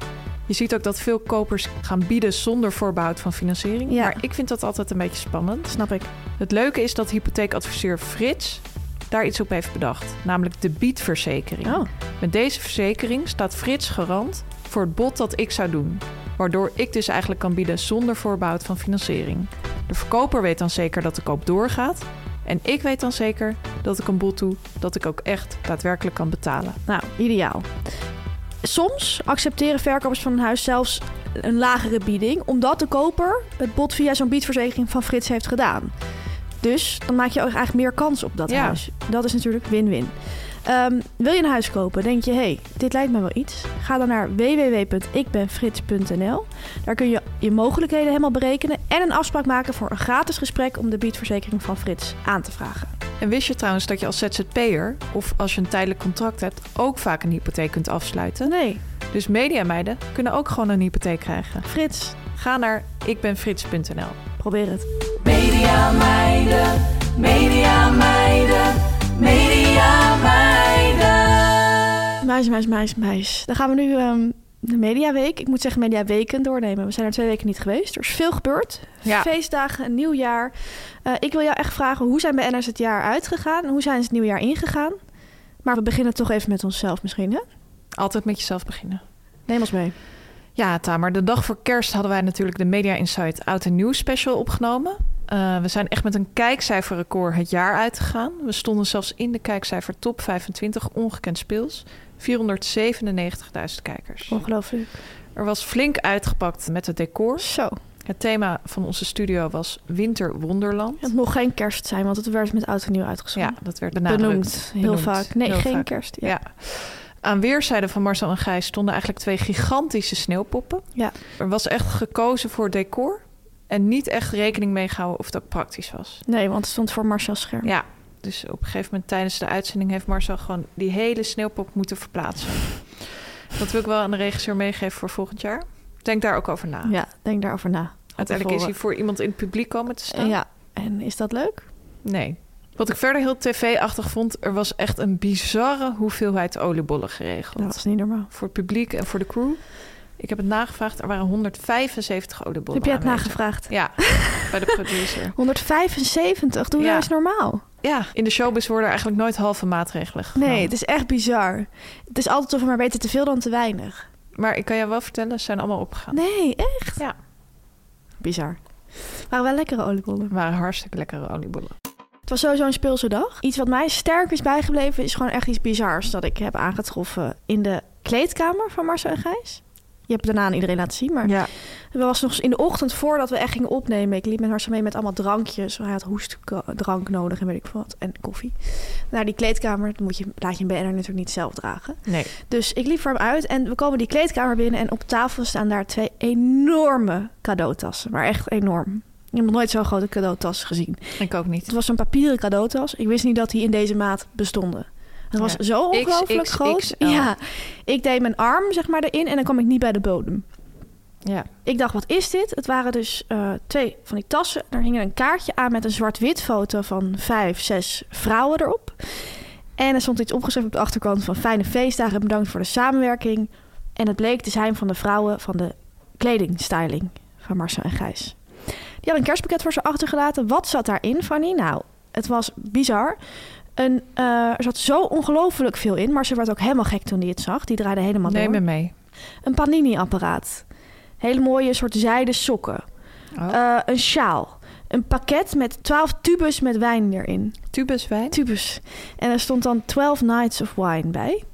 Speaker 2: Je ziet ook dat veel kopers gaan bieden zonder voorbehoud van financiering.
Speaker 1: Ja.
Speaker 2: Maar ik vind dat altijd een beetje spannend.
Speaker 1: Snap ik.
Speaker 2: Het leuke is dat hypotheekadviseur Frits daar iets op heeft bedacht. Namelijk de biedverzekering.
Speaker 1: Oh.
Speaker 2: Met deze verzekering staat Frits garant voor het bod dat ik zou doen. Waardoor ik dus eigenlijk kan bieden zonder voorbehoud van financiering. De verkoper weet dan zeker dat de koop doorgaat. En ik weet dan zeker dat ik een bod doe dat ik ook echt daadwerkelijk kan betalen.
Speaker 1: Nou, ideaal. Soms accepteren verkopers van een huis zelfs een lagere bieding, omdat de koper het bod via zo'n biedverzekering van Frits heeft gedaan. Dus dan maak je ook eigenlijk meer kans op dat
Speaker 2: Ja.
Speaker 1: huis. Dat is natuurlijk win-win. Ehm, wil je een huis kopen? Denk je, hé, hey, dit lijkt me wel iets. Ga dan naar www.ikbenfrits.nl. Daar kun je je mogelijkheden helemaal berekenen en een afspraak maken voor een gratis gesprek om de biedverzekering van Frits aan te vragen.
Speaker 2: En wist je trouwens dat je als ZZP'er of als je een tijdelijk contract hebt ook vaak een hypotheek kunt afsluiten?
Speaker 1: Nee,
Speaker 2: Dus mediameiden kunnen ook gewoon een hypotheek krijgen.
Speaker 1: Frits,
Speaker 2: Ga naar ikbenfrits.nl.
Speaker 1: probeer het.
Speaker 3: Media meiden, media meiden, media meiden.
Speaker 1: Meis, meis, meis, meis. Dan gaan we nu ehm, de mediaweek. Ik moet zeggen mediaweken doornemen. We zijn er twee weken niet geweest. Er is veel gebeurd.
Speaker 2: Ja.
Speaker 1: Feestdagen, een nieuw jaar. Eh, ik wil jou echt vragen, hoe zijn BN'ers het jaar uitgegaan? En hoe zijn ze het nieuwe jaar ingegaan? Maar we beginnen toch even met onszelf misschien, hè?
Speaker 2: Altijd met jezelf beginnen.
Speaker 1: Neem ons mee.
Speaker 2: Ja, Tamer, de dag voor kerst hadden wij natuurlijk de Media Insight Oud en Nieuw special opgenomen. Eh, we zijn echt met een kijkcijferrecord het jaar uitgegaan. We stonden zelfs in de kijkcijfer top 25, ongekend speels. 497.000 kijkers.
Speaker 1: Ongelooflijk.
Speaker 2: Er was flink uitgepakt met het decor.
Speaker 1: Zo.
Speaker 2: Het thema van onze studio was Winterwonderland.
Speaker 1: Het mocht geen kerst zijn, want het werd met oud en nieuw
Speaker 2: Ja,
Speaker 1: uitgezonden.
Speaker 2: dat werd
Speaker 1: Benoemd,
Speaker 2: benadrukt.
Speaker 1: heel
Speaker 2: Benoemd.
Speaker 1: vaak. Nee,
Speaker 2: Heel
Speaker 1: geen
Speaker 2: vaak.
Speaker 1: kerst. Ja.
Speaker 2: Ja. Aan weerszijden van Marcel en Gijs stonden eigenlijk twee gigantische sneeuwpoppen.
Speaker 1: Ja.
Speaker 2: Er was echt gekozen voor decor en niet echt rekening mee gehouden of het ook praktisch was.
Speaker 1: Nee, want het stond voor Marcel Scherm.
Speaker 2: Ja, dus op een gegeven moment tijdens de uitzending heeft Marcel gewoon die hele sneeuwpop moeten verplaatsen. Dat wil ik wel aan de regisseur meegeven voor volgend jaar. Denk daar ook over na.
Speaker 1: Ja, denk daarover na.
Speaker 2: Uiteindelijk is hij voor iemand in het publiek komen te staan.
Speaker 1: Ja, en is dat leuk?
Speaker 2: Nee. Wat ik verder heel tv-achtig vond, er was echt een bizarre hoeveelheid oliebollen geregeld.
Speaker 1: Dat is niet normaal.
Speaker 2: Voor het publiek en voor de crew. Ik heb het nagevraagd, er waren 175 oliebollen.
Speaker 1: Heb jij het
Speaker 2: aanwezig.
Speaker 1: nagevraagd?
Speaker 2: Ja, bij de producer.
Speaker 1: 175, doe
Speaker 2: Ja.
Speaker 1: nou eens normaal.
Speaker 2: Ja, in de showbiz worden eigenlijk nooit halve maatregelen genomen.
Speaker 1: Nee, het is echt bizar. Het is altijd of er maar beter te veel dan te weinig.
Speaker 2: Maar ik kan jou wel vertellen, ze zijn allemaal opgegaan.
Speaker 1: Nee, echt?
Speaker 2: Ja.
Speaker 1: Bizar. waren wel lekkere oliebollen.
Speaker 2: Het waren hartstikke lekkere oliebollen.
Speaker 1: Het was sowieso een speelse dag. Iets wat mij sterk is bijgebleven is gewoon echt iets bizars dat ik heb aangetroffen in de kleedkamer van Marcel en Gijs. Je hebt het daarna aan iedereen laten zien, maar
Speaker 2: Ja.
Speaker 1: we was nog eens in de ochtend voordat we echt gingen opnemen. Ik liep met Marcel mee met allemaal drankjes. Hij had hoestdrank nodig en weet ik veel wat en koffie. Naar die kleedkamer, dat moet je, laat je een BN'er natuurlijk niet zelf dragen.
Speaker 2: Nee.
Speaker 1: Dus ik liep voor hem uit en we komen die kleedkamer binnen en op tafel staan daar twee enorme cadeautassen, maar echt enorm. Ik heb nog nooit zo'n grote cadeautas gezien.
Speaker 2: Ik ook niet.
Speaker 1: Het was een papieren cadeautas. Ik wist niet dat die in deze maat bestonden. Het was
Speaker 2: Ja.
Speaker 1: zo ongelooflijk
Speaker 2: XXXL.
Speaker 1: groot. Ja, ik deed mijn arm zeg maar erin en dan kwam ik niet bij de bodem.
Speaker 2: Ja.
Speaker 1: Ik dacht, wat is dit? Het waren dus eh, twee van die tassen. Daar hing een kaartje aan met een zwart-wit foto van vijf, zes vrouwen erop. En er stond iets opgeschreven op de achterkant van fijne feestdagen en bedankt voor de samenwerking. En het bleek te zijn van de vrouwen van de kledingstyling van Marcel en Gijs. Die had een kerstpakket voor ze achtergelaten. Wat zat daarin, Fanny? Nou, het was bizar. Een, eh, er zat zo ongelooflijk veel in. Maar ze werd ook helemaal gek toen die het zag. Die draaide helemaal
Speaker 2: Neem
Speaker 1: door.
Speaker 2: me mee.
Speaker 1: Een panini-apparaat. Hele mooie soort zijden sokken.
Speaker 2: Oh.
Speaker 1: Eh, een sjaal. Een pakket met twaalf tubus met wijn erin.
Speaker 2: Tubus wijn.
Speaker 1: Tubus. En er stond dan 12 Nights of Wine bij.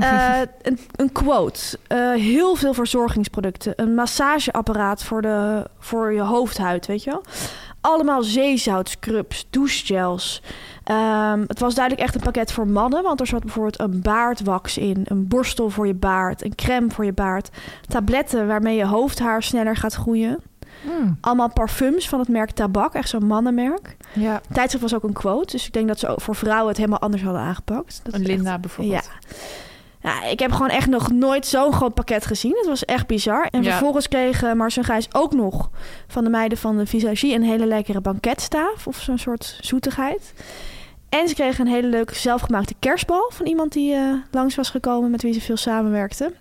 Speaker 1: Eh, een, een quote. Eh, heel veel verzorgingsproducten. Een massageapparaat voor, de, voor je hoofdhuid, weet je wel. Allemaal zeezoutcrubs, douchegels. Ehm, het was duidelijk echt een pakket voor mannen. Want er zat bijvoorbeeld een baardwax in. Een borstel voor je baard. Een crème voor je baard. Tabletten waarmee je hoofdhaar sneller gaat groeien.
Speaker 2: Mm.
Speaker 1: Allemaal parfums van het merk Tabak. Echt zo'n mannenmerk.
Speaker 2: Ja.
Speaker 1: Tijdschrift was ook een quote. Dus ik denk dat ze ook voor vrouwen het helemaal anders hadden aangepakt. Dat
Speaker 2: Een
Speaker 1: is echt-
Speaker 2: Linda bijvoorbeeld.
Speaker 1: Ja. ja, ik heb gewoon echt nog nooit zo'n groot pakket gezien. Het was echt bizar. En
Speaker 2: Ja.
Speaker 1: vervolgens kregen Marcel en Gijs ook nog van de meiden van de visagie... een hele lekkere banketstaaf of zo'n soort zoetigheid. En ze kregen een hele leuke zelfgemaakte kerstbal... van iemand die eh, langs was gekomen met wie ze veel samenwerkte.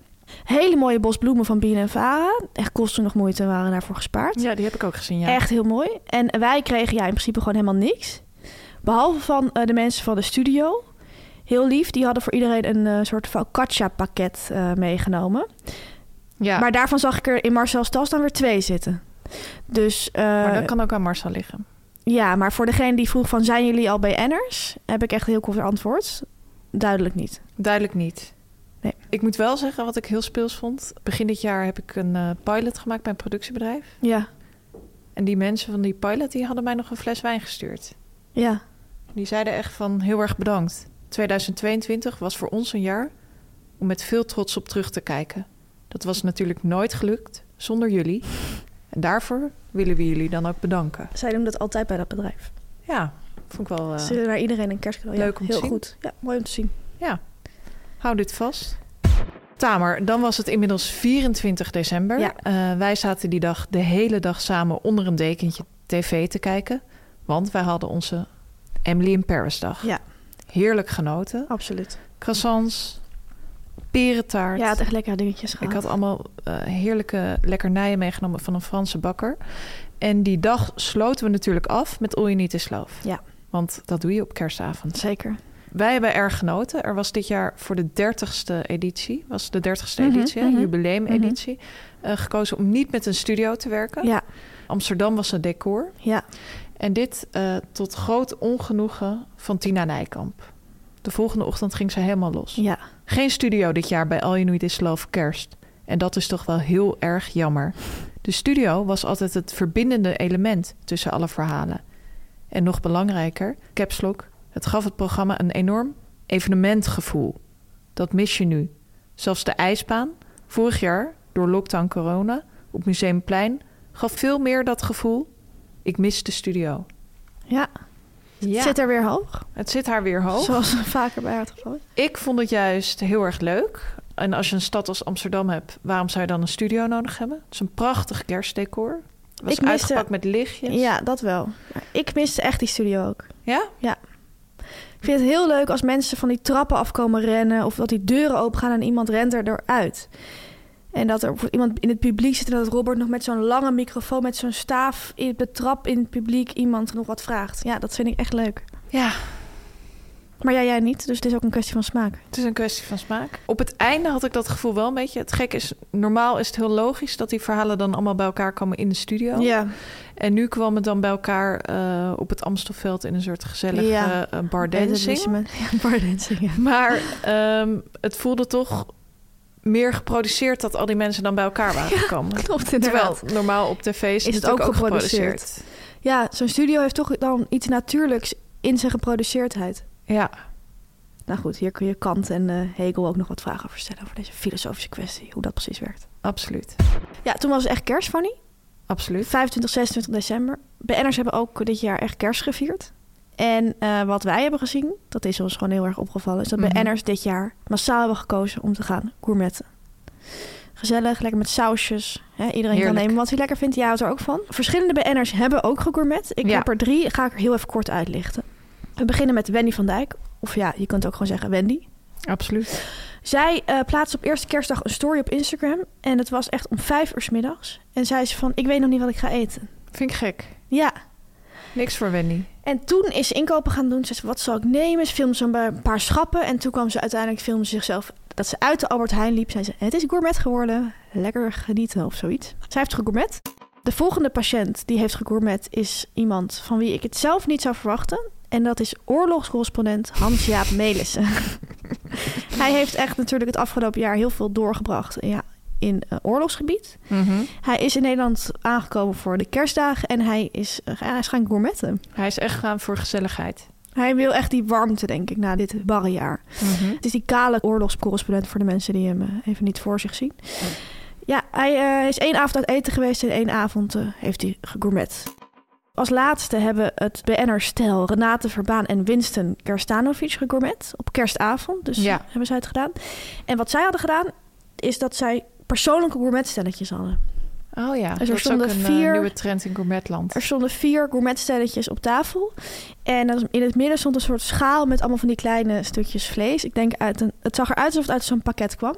Speaker 1: Hele mooie bosbloemen van Bien en Vara. Echt kosten nog moeite en waren daarvoor gespaard.
Speaker 2: Ja, die heb ik ook gezien. Ja.
Speaker 1: Echt heel mooi. En wij kregen ja, in principe gewoon helemaal niks. Behalve van eh, de mensen van de studio. Heel lief, die hadden voor iedereen een eh, soort focaccia pakket eh, meegenomen.
Speaker 2: Ja.
Speaker 1: Maar daarvan zag ik er in Marcel's tas dan weer twee zitten. Dus eh,
Speaker 2: Maar dat kan ook aan Marcel liggen.
Speaker 1: ja, maar voor degene die vroeg van zijn jullie al BN'ers? Heb ik echt heel kort antwoord. Duidelijk niet.
Speaker 2: Duidelijk niet.
Speaker 1: Nee.
Speaker 2: Ik moet wel zeggen wat ik heel speels vond. Begin dit jaar heb ik een eh, pilot gemaakt bij een productiebedrijf.
Speaker 1: Ja,
Speaker 2: En die mensen van die pilot die hadden mij nog een fles wijn gestuurd.
Speaker 1: ja.
Speaker 2: Die zeiden echt van heel erg bedankt. 2022 was voor ons een jaar om met veel trots op terug te kijken. Dat was natuurlijk nooit gelukt zonder jullie. En daarvoor willen we jullie dan ook bedanken.
Speaker 1: Zij doen dat altijd bij dat bedrijf.
Speaker 2: Ja, vond ik wel. eh,
Speaker 1: Ze doen naar iedereen een kerstcadeau. Ja,
Speaker 2: Leuk om te
Speaker 1: heel
Speaker 2: zien.
Speaker 1: goed. Ja, mooi om te zien.
Speaker 2: Hou dit vast. Tamer, dan was het inmiddels 24 december.
Speaker 1: Ja.
Speaker 2: Eh, wij zaten die dag de hele dag samen onder een dekentje tv te kijken. Want wij hadden onze Emily in Paris dag.
Speaker 1: Ja.
Speaker 2: Heerlijk genoten.
Speaker 1: Absoluut.
Speaker 2: Croissants, perentaart.
Speaker 1: Ja, het echt lekkere dingetjes
Speaker 2: Ik
Speaker 1: gehad.
Speaker 2: had allemaal eh, heerlijke lekkernijen meegenomen van een Franse bakker. En die dag sloten we natuurlijk af met All You Need Is Love.
Speaker 1: Ja.
Speaker 2: Want dat doe je op kerstavond.
Speaker 1: Zeker.
Speaker 2: Wij hebben erg genoten. Er was dit jaar voor de 30ste editie, was de 30ste
Speaker 1: Mhm,
Speaker 2: editie, hè,
Speaker 1: mhm.
Speaker 2: jubileumeditie, eh, gekozen om niet met een studio te werken.
Speaker 1: Ja,
Speaker 2: Amsterdam was het decor.
Speaker 1: ja.
Speaker 2: En dit eh, tot groot ongenoegen van Tina Nijkamp. De volgende ochtend ging ze helemaal los.
Speaker 1: Ja,
Speaker 2: Geen studio dit jaar bij All You Need Is Love Kerst. En dat is toch wel heel erg jammer. De studio was altijd het verbindende element tussen alle verhalen. En nog belangrijker, Caps Lock, het gaf het programma een enorm evenementgevoel. Dat mis je nu. Zelfs de ijsbaan, vorig jaar door lockdown corona op Museumplein, gaf veel meer dat gevoel. Ik mis de studio.
Speaker 1: Ja,
Speaker 2: Ja, Oh.
Speaker 1: zit er weer hoog.
Speaker 2: het zit haar weer hoog.
Speaker 1: Zoals vaker bij haar het geval is.
Speaker 2: Ik vond het juist heel erg leuk. En als je een stad als Amsterdam hebt, waarom zou je dan een studio nodig hebben? Het is een prachtig kerstdecor. Het was
Speaker 1: Ik miste-
Speaker 2: uitgepakt met lichtjes.
Speaker 1: Ja, dat wel. Maar ik miste echt die studio ook.
Speaker 2: Ja?
Speaker 1: Ik vind het heel leuk als mensen van die trappen afkomen rennen... of dat die deuren opengaan en iemand rent er eruit. En dat er bijvoorbeeld iemand in het publiek zit... en dat Robert nog met zo'n lange microfoon, met zo'n staaf... in de trap in het publiek iemand nog wat vraagt. Ja, dat vind ik echt leuk.
Speaker 2: Ja,
Speaker 1: Maar ja, jij niet, dus het is ook een kwestie van smaak.
Speaker 2: het is een kwestie van smaak. Op het einde had ik dat gevoel wel een beetje. Het gek is, normaal is het heel logisch dat die verhalen dan allemaal bij elkaar komen in de studio.
Speaker 1: Ja,
Speaker 2: En nu kwam het dan bij elkaar eh, op het Amstelveld in een soort gezellige
Speaker 1: Ja.
Speaker 2: eh, bar dancing.
Speaker 1: Ja, bardancing, ja.
Speaker 2: Maar ehm, het voelde toch meer geproduceerd dat al die mensen dan bij elkaar waren gekomen.
Speaker 1: Klopt
Speaker 2: Terwijl
Speaker 1: inderdaad.
Speaker 2: normaal op tv is,
Speaker 1: Is het
Speaker 2: natuurlijk
Speaker 1: ook geproduceerd.
Speaker 2: geproduceerd.
Speaker 1: Ja, zo'n studio heeft toch dan iets natuurlijks in zijn geproduceerdheid.
Speaker 2: Ja,
Speaker 1: Nou goed, hier kun je Kant en eh, Hegel ook nog wat vragen over stellen... over deze filosofische kwestie, hoe dat precies werkt.
Speaker 2: absoluut.
Speaker 1: Ja, toen was het echt kerst, Fanny.
Speaker 2: Absoluut.
Speaker 1: 25, 26 december. BN'ers hebben ook dit jaar echt kerst gevierd. En eh, wat wij hebben gezien, dat is ons gewoon heel erg opgevallen... is dat
Speaker 2: Mhm.
Speaker 1: BN'ers dit jaar massaal hebben gekozen om te gaan gourmetten. Gezellig, lekker met sausjes. Hè, iedereen
Speaker 2: Heerlijk.
Speaker 1: kan nemen wat hij lekker vindt. Jij houdt er ook van. Verschillende BN'ers hebben ook gegourmet. Ik
Speaker 2: Ja.
Speaker 1: heb er drie, ga ik er heel even kort uitlichten. We beginnen met Wendy van Dijk. Of ja, je kunt ook gewoon zeggen Wendy.
Speaker 2: Absoluut.
Speaker 1: Zij eh plaatste op eerste kerstdag een story op Instagram. En het was echt om vijf uur 's middags. En zei ze van, ik weet nog niet wat ik ga eten.
Speaker 2: Vind ik gek.
Speaker 1: Ja,
Speaker 2: Niks voor Wendy.
Speaker 1: en toen is ze inkopen gaan doen. Ze zei, wat zal ik nemen? Ze filmde zo'n een paar schappen. En toen kwam ze uiteindelijk filmen zichzelf dat ze uit de Albert Heijn liep. Zei ze, het is gourmet geworden. Lekker genieten of zoiets. Zij heeft gegourmet. De volgende patiënt die heeft gegourmet is iemand van wie ik het zelf niet zou verwachten. En dat is oorlogscorrespondent Hans-Jaap Melissen. Hij heeft echt natuurlijk het afgelopen jaar heel veel doorgebracht ja, in eh, oorlogsgebied. Hij is in Nederland aangekomen voor de kerstdagen en hij is, eh, hij is gaan gourmetten.
Speaker 2: Hij is echt gegaan voor gezelligheid.
Speaker 1: Hij wil echt die warmte, denk ik, na dit barre jaar. Het is die kale oorlogscorrespondent voor de mensen die hem eh, even niet voor zich zien. Ja, hij eh, is één avond uit eten geweest en één avond eh, heeft hij gegourmet. Als laatste hebben het BNR-stel Renate Verbaan en Winston Kerstanovic gegourmet. Op kerstavond, dus
Speaker 2: Ja.
Speaker 1: hebben zij het gedaan. En wat zij hadden gedaan, is dat zij persoonlijke gourmetstelletjes hadden.
Speaker 2: Oh ja,
Speaker 1: er
Speaker 2: dat is ook
Speaker 1: stonden
Speaker 2: een eh,
Speaker 1: vier-
Speaker 2: nieuwe trend in gourmetland.
Speaker 1: Er stonden vier gourmetstelletjes op tafel. En dan in het midden stond een soort schaal met allemaal van die kleine stukjes vlees. Ik denk uit een, het zag eruit alsof het uit zo'n pakket kwam.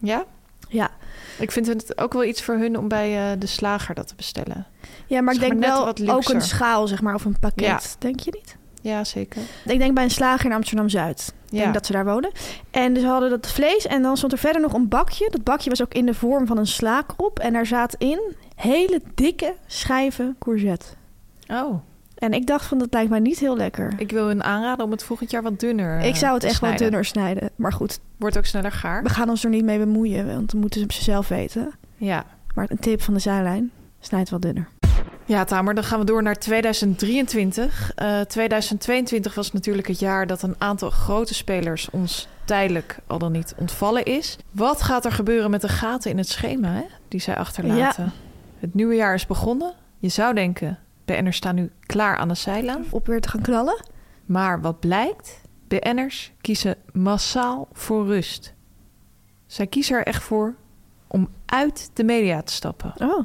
Speaker 2: Ja?
Speaker 1: Ja,
Speaker 2: Ik vind het ook wel iets voor hun om bij eh, de slager dat te bestellen.
Speaker 1: ja maar
Speaker 2: Zeg
Speaker 1: ik denk
Speaker 2: maar net
Speaker 1: wel
Speaker 2: wat
Speaker 1: ook
Speaker 2: luxer.
Speaker 1: een schaal, zeg maar, of een pakket.
Speaker 2: Ja.
Speaker 1: Denk je niet?
Speaker 2: Ja, zeker.
Speaker 1: Ik denk bij een slager in Amsterdam-Zuid. Ik
Speaker 2: Ja.
Speaker 1: denk dat ze daar wonen. En dus we hadden dat vlees en dan stond er verder nog een bakje. Dat bakje was ook in de vorm van een slaakrop. En daar zat in hele dikke schijven courgette.
Speaker 2: Oh,
Speaker 1: En ik dacht van, dat lijkt mij niet heel lekker.
Speaker 2: ik wil hun aanraden om het volgend jaar wat dunner eh,
Speaker 1: ik zou het
Speaker 2: te
Speaker 1: echt wel
Speaker 2: snijden.
Speaker 1: dunner snijden. Maar goed,
Speaker 2: Wordt ook sneller gaar.
Speaker 1: We gaan ons er niet mee bemoeien, want dan moeten ze zelf weten.
Speaker 2: Ja.
Speaker 1: Maar een tip van de zijlijn, snijd wat dunner.
Speaker 2: Ja, Tamer, dan gaan we door naar 2023. Eh, 2022 was natuurlijk het jaar dat een aantal grote spelers ons tijdelijk al dan niet ontvallen is. Wat gaat er gebeuren met de gaten in het schema hè, die zij achterlaten? Het nieuwe jaar is begonnen. Je zou denken, BN'ers staan nu klaar aan de zijlijn.
Speaker 1: Op weer te gaan knallen.
Speaker 2: Maar wat blijkt? BN'ers kiezen massaal voor rust. Zij kiezen er echt voor om uit de media te stappen.
Speaker 1: Oh,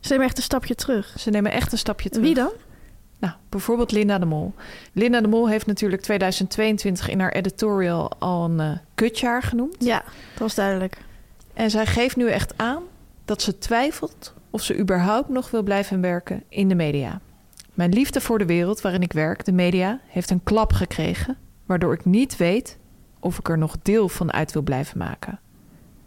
Speaker 1: ze nemen echt een stapje terug.
Speaker 2: Ze nemen echt een stapje terug.
Speaker 1: Wie dan?
Speaker 2: Nou, bijvoorbeeld Linda de Mol. Linda de Mol heeft natuurlijk 2022 in haar editorial al een eh, kutjaar genoemd.
Speaker 1: Ja, dat was duidelijk.
Speaker 2: En zij geeft nu echt aan dat ze twijfelt of ze überhaupt nog wil blijven werken in de media. Mijn liefde voor de wereld waarin ik werk, de media, heeft een klap gekregen, waardoor ik niet weet of ik er nog deel van uit wil blijven maken.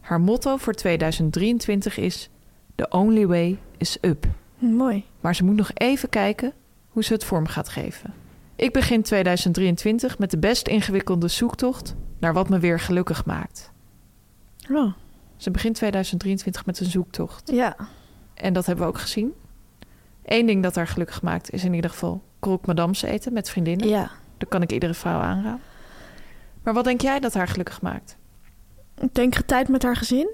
Speaker 2: Haar motto voor 2023 is: The only way is up.
Speaker 1: Hm, Mooi.
Speaker 2: Maar ze moet nog even kijken hoe ze het vorm gaat geven. Ik begin 2023 met de best ingewikkelde zoektocht naar wat me weer gelukkig maakt.
Speaker 1: Oh.
Speaker 2: Ze begint 2023 met een zoektocht.
Speaker 1: Ja.
Speaker 2: En dat hebben we ook gezien. Eén ding dat haar gelukkig maakt is in ieder geval croque madamse eten met vriendinnen.
Speaker 1: Ja.
Speaker 2: Dat kan ik iedere vrouw aanraden. Maar wat denk jij dat haar gelukkig maakt?
Speaker 1: Ik denk tijd met haar gezin.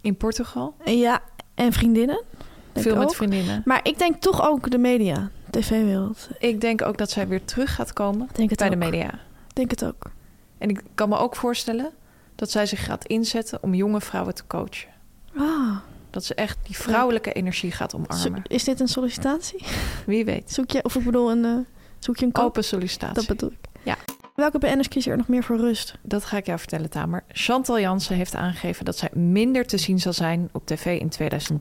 Speaker 2: In Portugal?
Speaker 1: Ja. En vriendinnen. Denk
Speaker 2: Veel
Speaker 1: ik
Speaker 2: met
Speaker 1: ook.
Speaker 2: vriendinnen.
Speaker 1: Maar ik denk toch ook de media, tv-wereld.
Speaker 2: Ik denk ook dat zij weer terug gaat komen
Speaker 1: Denk het
Speaker 2: bij
Speaker 1: ook.
Speaker 2: de media.
Speaker 1: Ik denk het ook.
Speaker 2: En ik kan me ook voorstellen dat zij zich gaat inzetten om jonge vrouwen te coachen.
Speaker 1: Ah,
Speaker 2: Dat ze echt die vrouwelijke energie gaat
Speaker 1: zo-
Speaker 2: omarmen.
Speaker 1: is dit een sollicitatie?
Speaker 2: Wie weet.
Speaker 1: Zoek je, of ik bedoel, een, eh, zoek je een kop?
Speaker 2: Open
Speaker 1: Dat
Speaker 2: sollicitatie.
Speaker 1: bedoel ik.
Speaker 2: Ja.
Speaker 1: Welke BN'ers kiezen er nog meer voor rust?
Speaker 2: Dat ga ik jou vertellen, Tamer. Chantal Jansen heeft aangegeven dat zij minder te zien zal zijn op tv in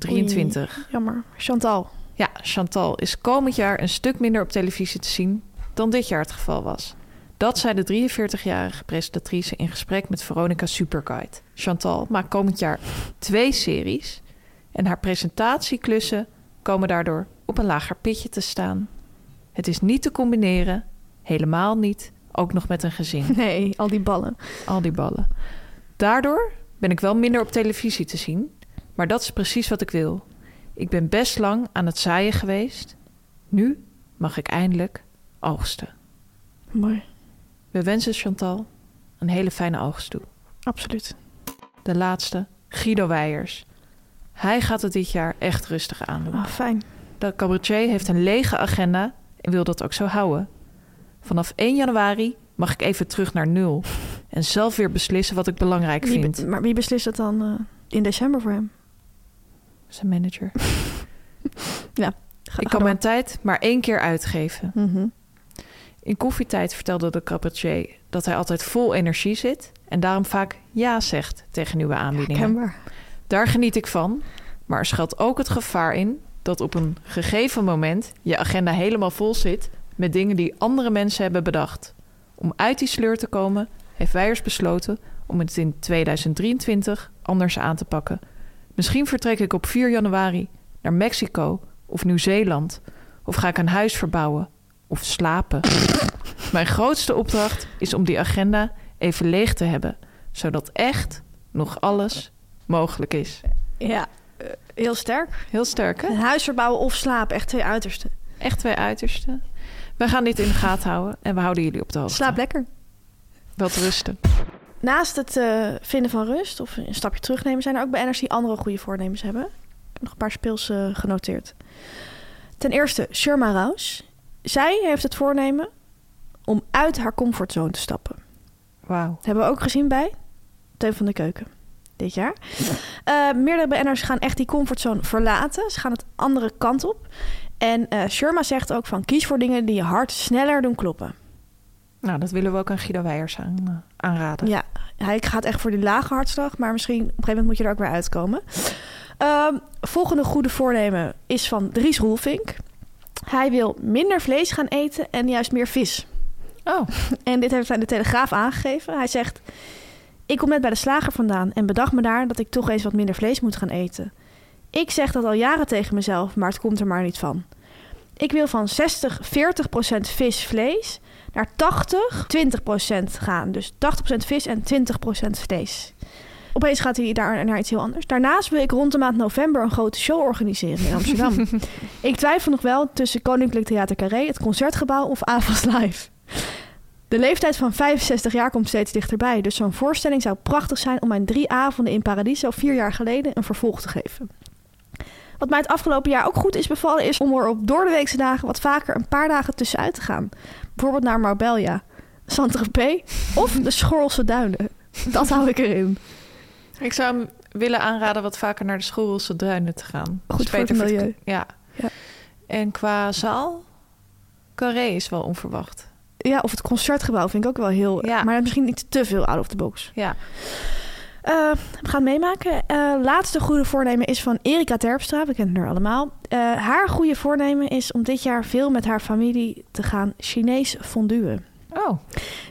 Speaker 2: 2023.
Speaker 1: Jammer. Chantal.
Speaker 2: Ja, Chantal is komend jaar een stuk minder op televisie te zien dan dit jaar het geval was. Dat zei de 43-jarige presentatrice in gesprek met Veronica Superguide. Chantal maakt komend jaar twee series en haar presentatieklussen komen daardoor op een lager pitje te staan. Het is niet te combineren, helemaal niet, ook nog met een gezin.
Speaker 1: Nee, al die ballen.
Speaker 2: Al die ballen. Daardoor ben ik wel minder op televisie te zien. Maar dat is precies wat ik wil. Ik ben best lang aan het zaaien geweest. Nu mag ik eindelijk oogsten.
Speaker 1: Mooi.
Speaker 2: We wensen Chantal een hele fijne oogst toe.
Speaker 1: Absoluut.
Speaker 2: De laatste, Guido Weijers. Hij gaat het dit jaar echt rustig aan.
Speaker 1: Ah, fijn.
Speaker 2: De cabaretier heeft een lege agenda en wil dat ook zo houden. Vanaf 1 januari mag ik even terug naar nul. En zelf weer beslissen wat ik belangrijk
Speaker 1: Wie
Speaker 2: vind.
Speaker 1: be- maar wie beslist het dan eh, in december voor hem?
Speaker 2: Zijn manager.
Speaker 1: Ga-
Speaker 2: Ik
Speaker 1: ga
Speaker 2: kan mijn
Speaker 1: door.
Speaker 2: tijd maar één keer uitgeven.
Speaker 1: Mhm.
Speaker 2: In koffietijd vertelde de cabaretier dat hij altijd vol energie zit en daarom vaak ja zegt tegen nieuwe aanbiedingen.
Speaker 1: Kenbaar.
Speaker 2: Daar geniet ik van, maar er schuilt ook het gevaar in dat op een gegeven moment je agenda helemaal vol zit met dingen die andere mensen hebben bedacht. Om uit die sleur te komen, heeft Weijers besloten om het in 2023 anders aan te pakken. Misschien vertrek ik op 4 januari naar Mexico of Nieuw-Zeeland, of ga ik een huis verbouwen of slapen. Mijn grootste opdracht is om die agenda even leeg te hebben, zodat echt nog alles mogelijk is.
Speaker 1: Ja. eh, heel sterk.
Speaker 2: Heel sterk, hè?
Speaker 1: Een huis verbouwen of slapen. Echt twee uitersten.
Speaker 2: Echt twee uitersten. We gaan dit in de gaten houden en we houden jullie op de hoogte.
Speaker 1: Slaap lekker.
Speaker 2: Wel te rusten.
Speaker 1: Naast het eh, vinden van rust of een stapje terugnemen, zijn er ook BN'ers die andere goede voornemens hebben. Ik heb nog een paar speels eh, genoteerd. Ten eerste Sherma Rouse. Zij heeft het voornemen om uit haar comfortzone te stappen.
Speaker 2: Wauw.
Speaker 1: Dat hebben we ook gezien bij Teun van de Keuken dit jaar. Eh, meerdere BN'ers gaan echt die comfortzone verlaten. Ze gaan het andere kant op. En eh Sherma zegt ook van kies voor dingen die je hart sneller doen kloppen.
Speaker 2: Nou, dat willen we ook aan Guido Weijers aan, eh, aanraden.
Speaker 1: Ja, hij gaat echt voor die lage hartslag, maar misschien op een gegeven moment moet je er ook weer uitkomen. Ehm, volgende goede voornemen is van Dries Roelvink. Hij wil minder vlees gaan eten en juist meer vis.
Speaker 2: Oh,
Speaker 1: En dit heeft hij in de Telegraaf aangegeven. Hij zegt: Ik kom net bij de slager vandaan en bedacht me daar dat ik toch eens wat minder vlees moet gaan eten. Ik zeg dat al jaren tegen mezelf, maar het komt er maar niet van. Ik wil van 60, 40 procent vis, vlees naar 80, 20 procent gaan. Dus 80 procent vis en 20 procent vlees. Opeens gaat hij daar naar iets heel anders. Daarnaast wil ik rond de maand november een grote show organiseren in Amsterdam. ik twijfel nog wel tussen Koninklijk Theater Carré, het Concertgebouw of Avas Live. De leeftijd van 65 jaar komt steeds dichterbij, dus zo'n voorstelling zou prachtig zijn om mijn drie avonden in Paradiso vier jaar geleden een vervolg te geven. Wat mij het afgelopen jaar ook goed is bevallen is om er op doordeweekse dagen wat vaker een paar dagen tussenuit te gaan. Bijvoorbeeld naar Marbella, Saint-Tropez of de Schorlse Duinen. Dat hou ik erin.
Speaker 2: ik zou hem willen aanraden wat vaker naar de Schoolse Duinen te gaan. Dat is
Speaker 1: voor het
Speaker 2: beter
Speaker 1: milieu.
Speaker 2: Ja.
Speaker 1: Ja.
Speaker 2: En qua zaal, Carré is wel onverwacht.
Speaker 1: Ja, of het concertgebouw vind ik ook wel heel...
Speaker 2: Ja.
Speaker 1: Maar misschien niet te veel out of the box.
Speaker 2: Ja.
Speaker 1: Eh, we gaan het meemaken. Eh, laatste goede voornemen is van Erika Terpstra. We kennen haar allemaal. Eh, haar goede voornemen is om dit jaar veel met haar familie te gaan Chinees fonduen.
Speaker 2: Oh,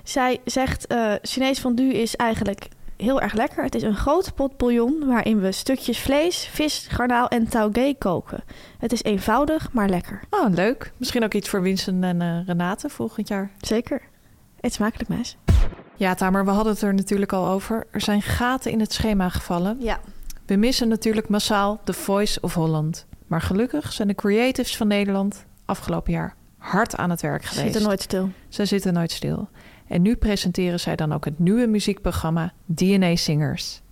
Speaker 1: Zij zegt, eh Chinees fondue is eigenlijk heel erg lekker. Het is een grote pot bouillon waarin we stukjes vlees, vis, garnaal en taugé koken. Het is eenvoudig, maar lekker.
Speaker 2: oh leuk. Misschien ook iets voor Winston en eh, Renate volgend jaar.
Speaker 1: Zeker. Eet smakelijk, meis.
Speaker 2: Ja, Tamer, we hadden het er natuurlijk al over. Er zijn gaten in het schema gevallen.
Speaker 1: Ja.
Speaker 2: We missen natuurlijk massaal The Voice of Holland. Maar gelukkig zijn de creatives van Nederland afgelopen jaar hard aan het werk
Speaker 1: Ze
Speaker 2: geweest.
Speaker 1: zitten nooit stil.
Speaker 2: Ze zitten nooit stil. En nu presenteren zij dan ook het nieuwe muziekprogramma DNA Singers.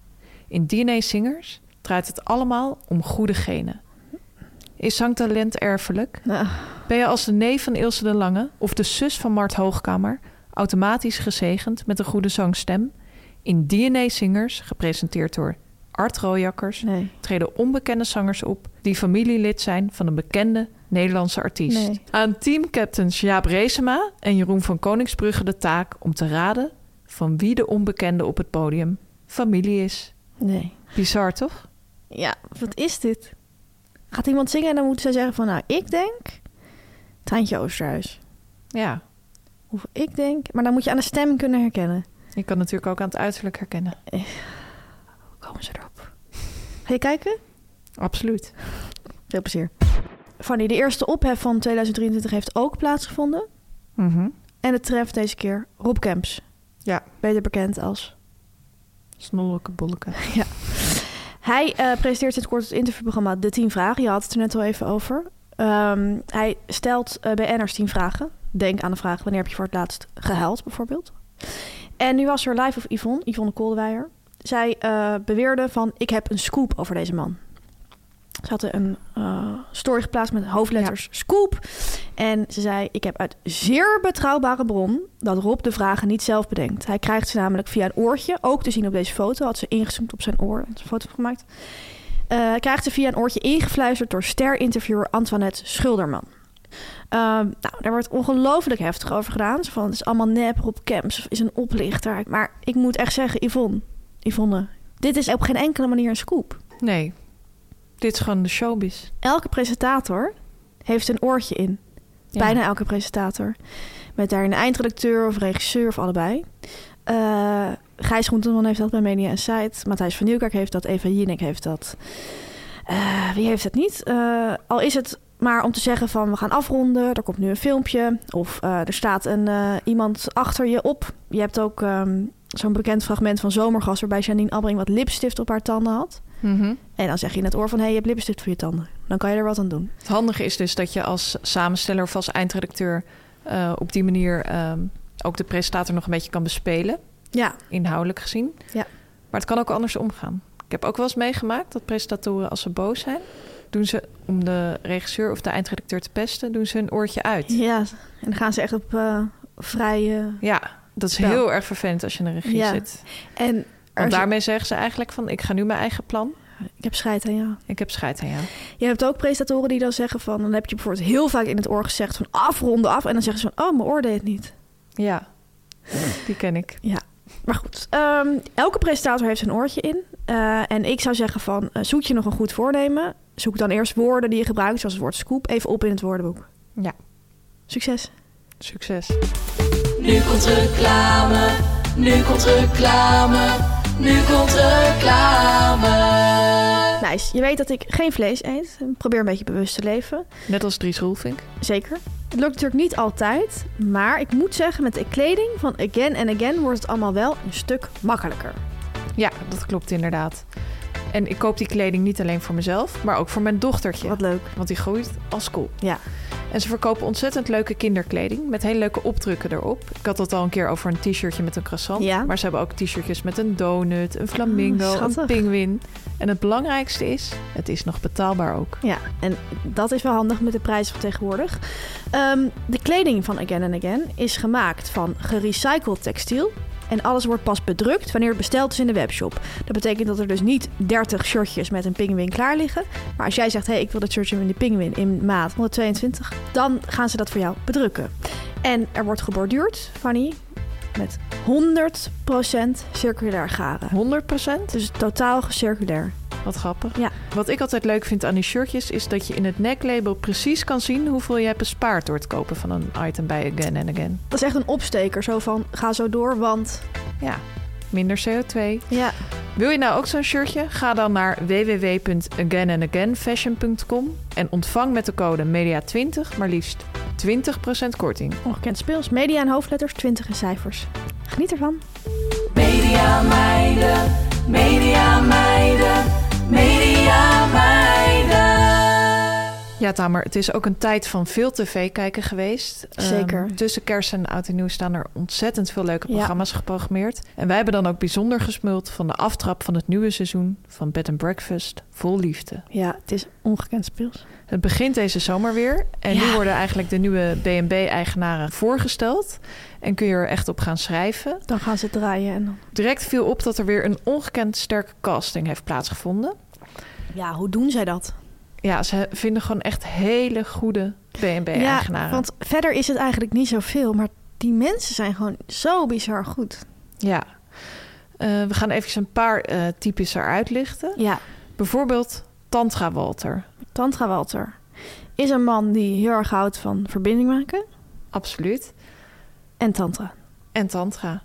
Speaker 2: In DNA Singers draait het allemaal om goede genen. Is zangtalent erfelijk?
Speaker 1: Nou,
Speaker 2: Ben je als de neef van Ilse de Lange of de zus van Mart Hoogkamer automatisch gezegend met een goede zangstem? In DNA Singers, gepresenteerd door Art Rooijakkers,
Speaker 1: nee.
Speaker 2: treden onbekende zangers op die familielid zijn van een bekende Nederlandse artiest.
Speaker 1: Nee.
Speaker 2: Aan teamcaptains Jaap Reesema en Jeroen van Koningsbrugge de taak om te raden van wie de onbekende op het podium familie is.
Speaker 1: Nee.
Speaker 2: Bizar toch?
Speaker 1: Ja, wat is dit? Gaat iemand zingen en dan moet zij zeggen van... Nou, ik denk... Treintje Oosterhuis.
Speaker 2: Ja,
Speaker 1: Of ik denk... Maar dan moet je aan de stem kunnen herkennen.
Speaker 2: je kan natuurlijk ook aan het uiterlijk herkennen.
Speaker 1: Hoe komen ze erop? Ga je kijken?
Speaker 2: Absoluut.
Speaker 1: Veel plezier. Fanny, de eerste ophef van 2023 heeft ook plaatsgevonden.
Speaker 2: Mhm.
Speaker 1: En het treft deze keer Rob Kemps.
Speaker 2: Ja.
Speaker 1: Beter bekend als...
Speaker 2: Snolleke bolleke.
Speaker 1: Hij eh, presenteert sinds kort het interviewprogramma De 10 Vragen. Je had het er net al even over. Ehm, hij stelt eh, bij BN'ers 10 vragen. Denk aan de vraag, wanneer heb je voor het laatst gehuild, bijvoorbeeld? En nu was er live of Yvonne, Yvonne Koldewijer. Zij eh, beweerde van, ik heb een scoop over deze man. Ze had een eh, story geplaatst met hoofdletters scoop. En ze zei, ik heb uit zeer betrouwbare bron dat Rob de vragen niet zelf bedenkt. Hij krijgt ze namelijk via een oortje, ook te zien op deze foto. Had ze ingezoomd op zijn oor, had ze een foto van gemaakt. Eh, hij krijgt ze via een oortje ingefluisterd door ster-interviewer Antoinette Schulderman. Ehm, nou, daar wordt ongelooflijk heftig over gedaan. Zo van, het is allemaal nep, Rob Kemps is een oplichter. Maar ik moet echt zeggen, Yvonne, Yvonne, dit is op geen enkele manier een scoop.
Speaker 2: Nee, dit is gewoon de showbiz.
Speaker 1: Elke presentator heeft een oortje in.
Speaker 2: Ja.
Speaker 1: Bijna elke presentator. Met daar een eindredacteur of regisseur of allebei. Eh Gijs Groenteman heeft dat bij Media Insight. Matthijs van Nieuwkerk heeft dat. Eva Jinek heeft dat. Eh, wie heeft het niet? Eh, al is het maar om te zeggen van we gaan afronden. Er komt nu een filmpje. Of eh, er staat een, eh, iemand achter je op. Je hebt ook ehm, zo'n bekend fragment van Zomergas... waarbij Janine Abbring wat lipstift op haar tanden had.
Speaker 2: Mhm.
Speaker 1: En dan zeg je in het oor van... hé, hey, je hebt lipstift voor je tanden. Dan kan je er wat aan doen.
Speaker 2: Het handige is dus dat je als samensteller of als eindredacteur eh, op die manier ehm, ook de presentator nog een beetje kan bespelen,
Speaker 1: Ja,
Speaker 2: inhoudelijk gezien.
Speaker 1: Ja.
Speaker 2: Maar het kan ook anders omgaan. Ik heb ook wel eens meegemaakt dat presentatoren als ze boos zijn, doen ze om de regisseur of de eindredacteur te pesten, doen ze hun oortje uit.
Speaker 1: Ja, en dan gaan ze echt op eh, vrije...
Speaker 2: Ja, dat is
Speaker 1: Spel.
Speaker 2: heel erg vervelend als je in een regie
Speaker 1: Ja.
Speaker 2: zit.
Speaker 1: En er
Speaker 2: Want
Speaker 1: is-
Speaker 2: daarmee zeggen ze eigenlijk van ik ga nu mijn eigen plan.
Speaker 1: ik heb scheid aan jou.
Speaker 2: Ik heb scheid aan jou.
Speaker 1: Je hebt ook presentatoren die dan zeggen van... dan heb je bijvoorbeeld heel vaak in het oor gezegd van afronden af... en dan zeggen ze van, oh, mijn oor deed het niet.
Speaker 2: Ja, die ken ik.
Speaker 1: Maar goed, ehm, elke presentator heeft zijn oortje in. Eh, en ik zou zeggen van, eh, zoek je nog een goed voornemen... zoek dan eerst woorden die je gebruikt, zoals het woord scoop... even op in het woordenboek.
Speaker 2: Ja.
Speaker 1: Succes.
Speaker 2: Succes.
Speaker 3: Nu komt reclame, nu komt reclame, nu komt reclame.
Speaker 1: Nice. Je weet dat ik geen vlees eet. Probeer een beetje bewust te leven.
Speaker 2: Net als Dries Roelvink.
Speaker 1: Zeker. Het lukt natuurlijk niet altijd, maar ik moet zeggen, met de kleding van Again and Again wordt het allemaal wel een stuk makkelijker.
Speaker 2: Ja, dat klopt inderdaad. En ik koop die kleding niet alleen voor mezelf, maar ook voor mijn dochtertje.
Speaker 1: Wat leuk.
Speaker 2: Want die groeit als kool.
Speaker 1: Ja.
Speaker 2: En ze verkopen ontzettend leuke kinderkleding met hele leuke opdrukken erop. Ik had het al een keer over een t-shirtje met een croissant.
Speaker 1: Ja.
Speaker 2: Maar ze hebben ook t-shirtjes met een donut, een flamingo,
Speaker 1: Oh, schattig.
Speaker 2: een pinguïn. En het belangrijkste is, het is nog betaalbaar ook.
Speaker 1: Ja, en dat is wel handig met de prijs van tegenwoordig. Ehm, de kleding van Again and Again is gemaakt van gerecycled textiel. En alles wordt pas bedrukt wanneer het besteld is in de webshop. Dat betekent dat er dus niet 30 shirtjes met een pinguïn klaar liggen. Maar als jij zegt, hé, hey, ik wil dat shirtje met die pinguïn in maat 122, dan gaan ze dat voor jou bedrukken. En er wordt geborduurd, Fanny, met 100% circulair garen.
Speaker 2: 100%?
Speaker 1: Dus totaal circulair.
Speaker 2: Wat grappig.
Speaker 1: Ja.
Speaker 2: Wat ik altijd leuk vind aan die shirtjes is dat je in het neklabel precies kan zien hoeveel je hebt bespaard door het kopen van een item bij Again and Again.
Speaker 1: Dat is echt een opsteker, zo van, ga zo door, want...
Speaker 2: Ja, minder CO2.
Speaker 1: Ja,
Speaker 2: Wil je nou ook zo'n shirtje? Ga dan naar www.againandagainfashion.com en ontvang met de code MEDIA20 maar liefst 20% korting.
Speaker 1: Ongekend speels. Media en hoofdletters, 20 en cijfers. Geniet ervan.
Speaker 3: Media meiden, media meiden, media meiden.
Speaker 2: Ja, Tamer, het is ook een tijd van veel tv kijken geweest. Ehm,
Speaker 1: Zeker.
Speaker 2: tussen kerst en oud en nieuw staan er ontzettend veel leuke
Speaker 1: Ja.
Speaker 2: programma's geprogrammeerd. En wij hebben dan ook bijzonder gesmuld van de aftrap van het nieuwe seizoen van Bed and Breakfast Vol Liefde.
Speaker 1: Ja, het is ongekend speels.
Speaker 2: Het begint deze zomer weer. En nu
Speaker 1: Ja.
Speaker 2: worden eigenlijk de nieuwe B&B-eigenaren voorgesteld. En kun je er echt op gaan schrijven.
Speaker 1: Dan gaan ze draaien en dan...
Speaker 2: Direct viel op dat er weer een ongekend sterke casting heeft plaatsgevonden.
Speaker 1: Ja, hoe doen zij dat?
Speaker 2: Ja, ze vinden gewoon echt hele goede B&B-eigenaren.
Speaker 1: Ja, want verder is het eigenlijk niet zoveel, maar die mensen zijn gewoon zo bizar goed.
Speaker 2: Ja. Eh, we gaan even een paar eh typische uitlichten.
Speaker 1: Ja,
Speaker 2: Bijvoorbeeld Tantra Walter.
Speaker 1: Tantra Walter is een man die heel erg houdt van verbinding maken
Speaker 2: Absoluut.
Speaker 1: en tantra.
Speaker 2: En Tantra.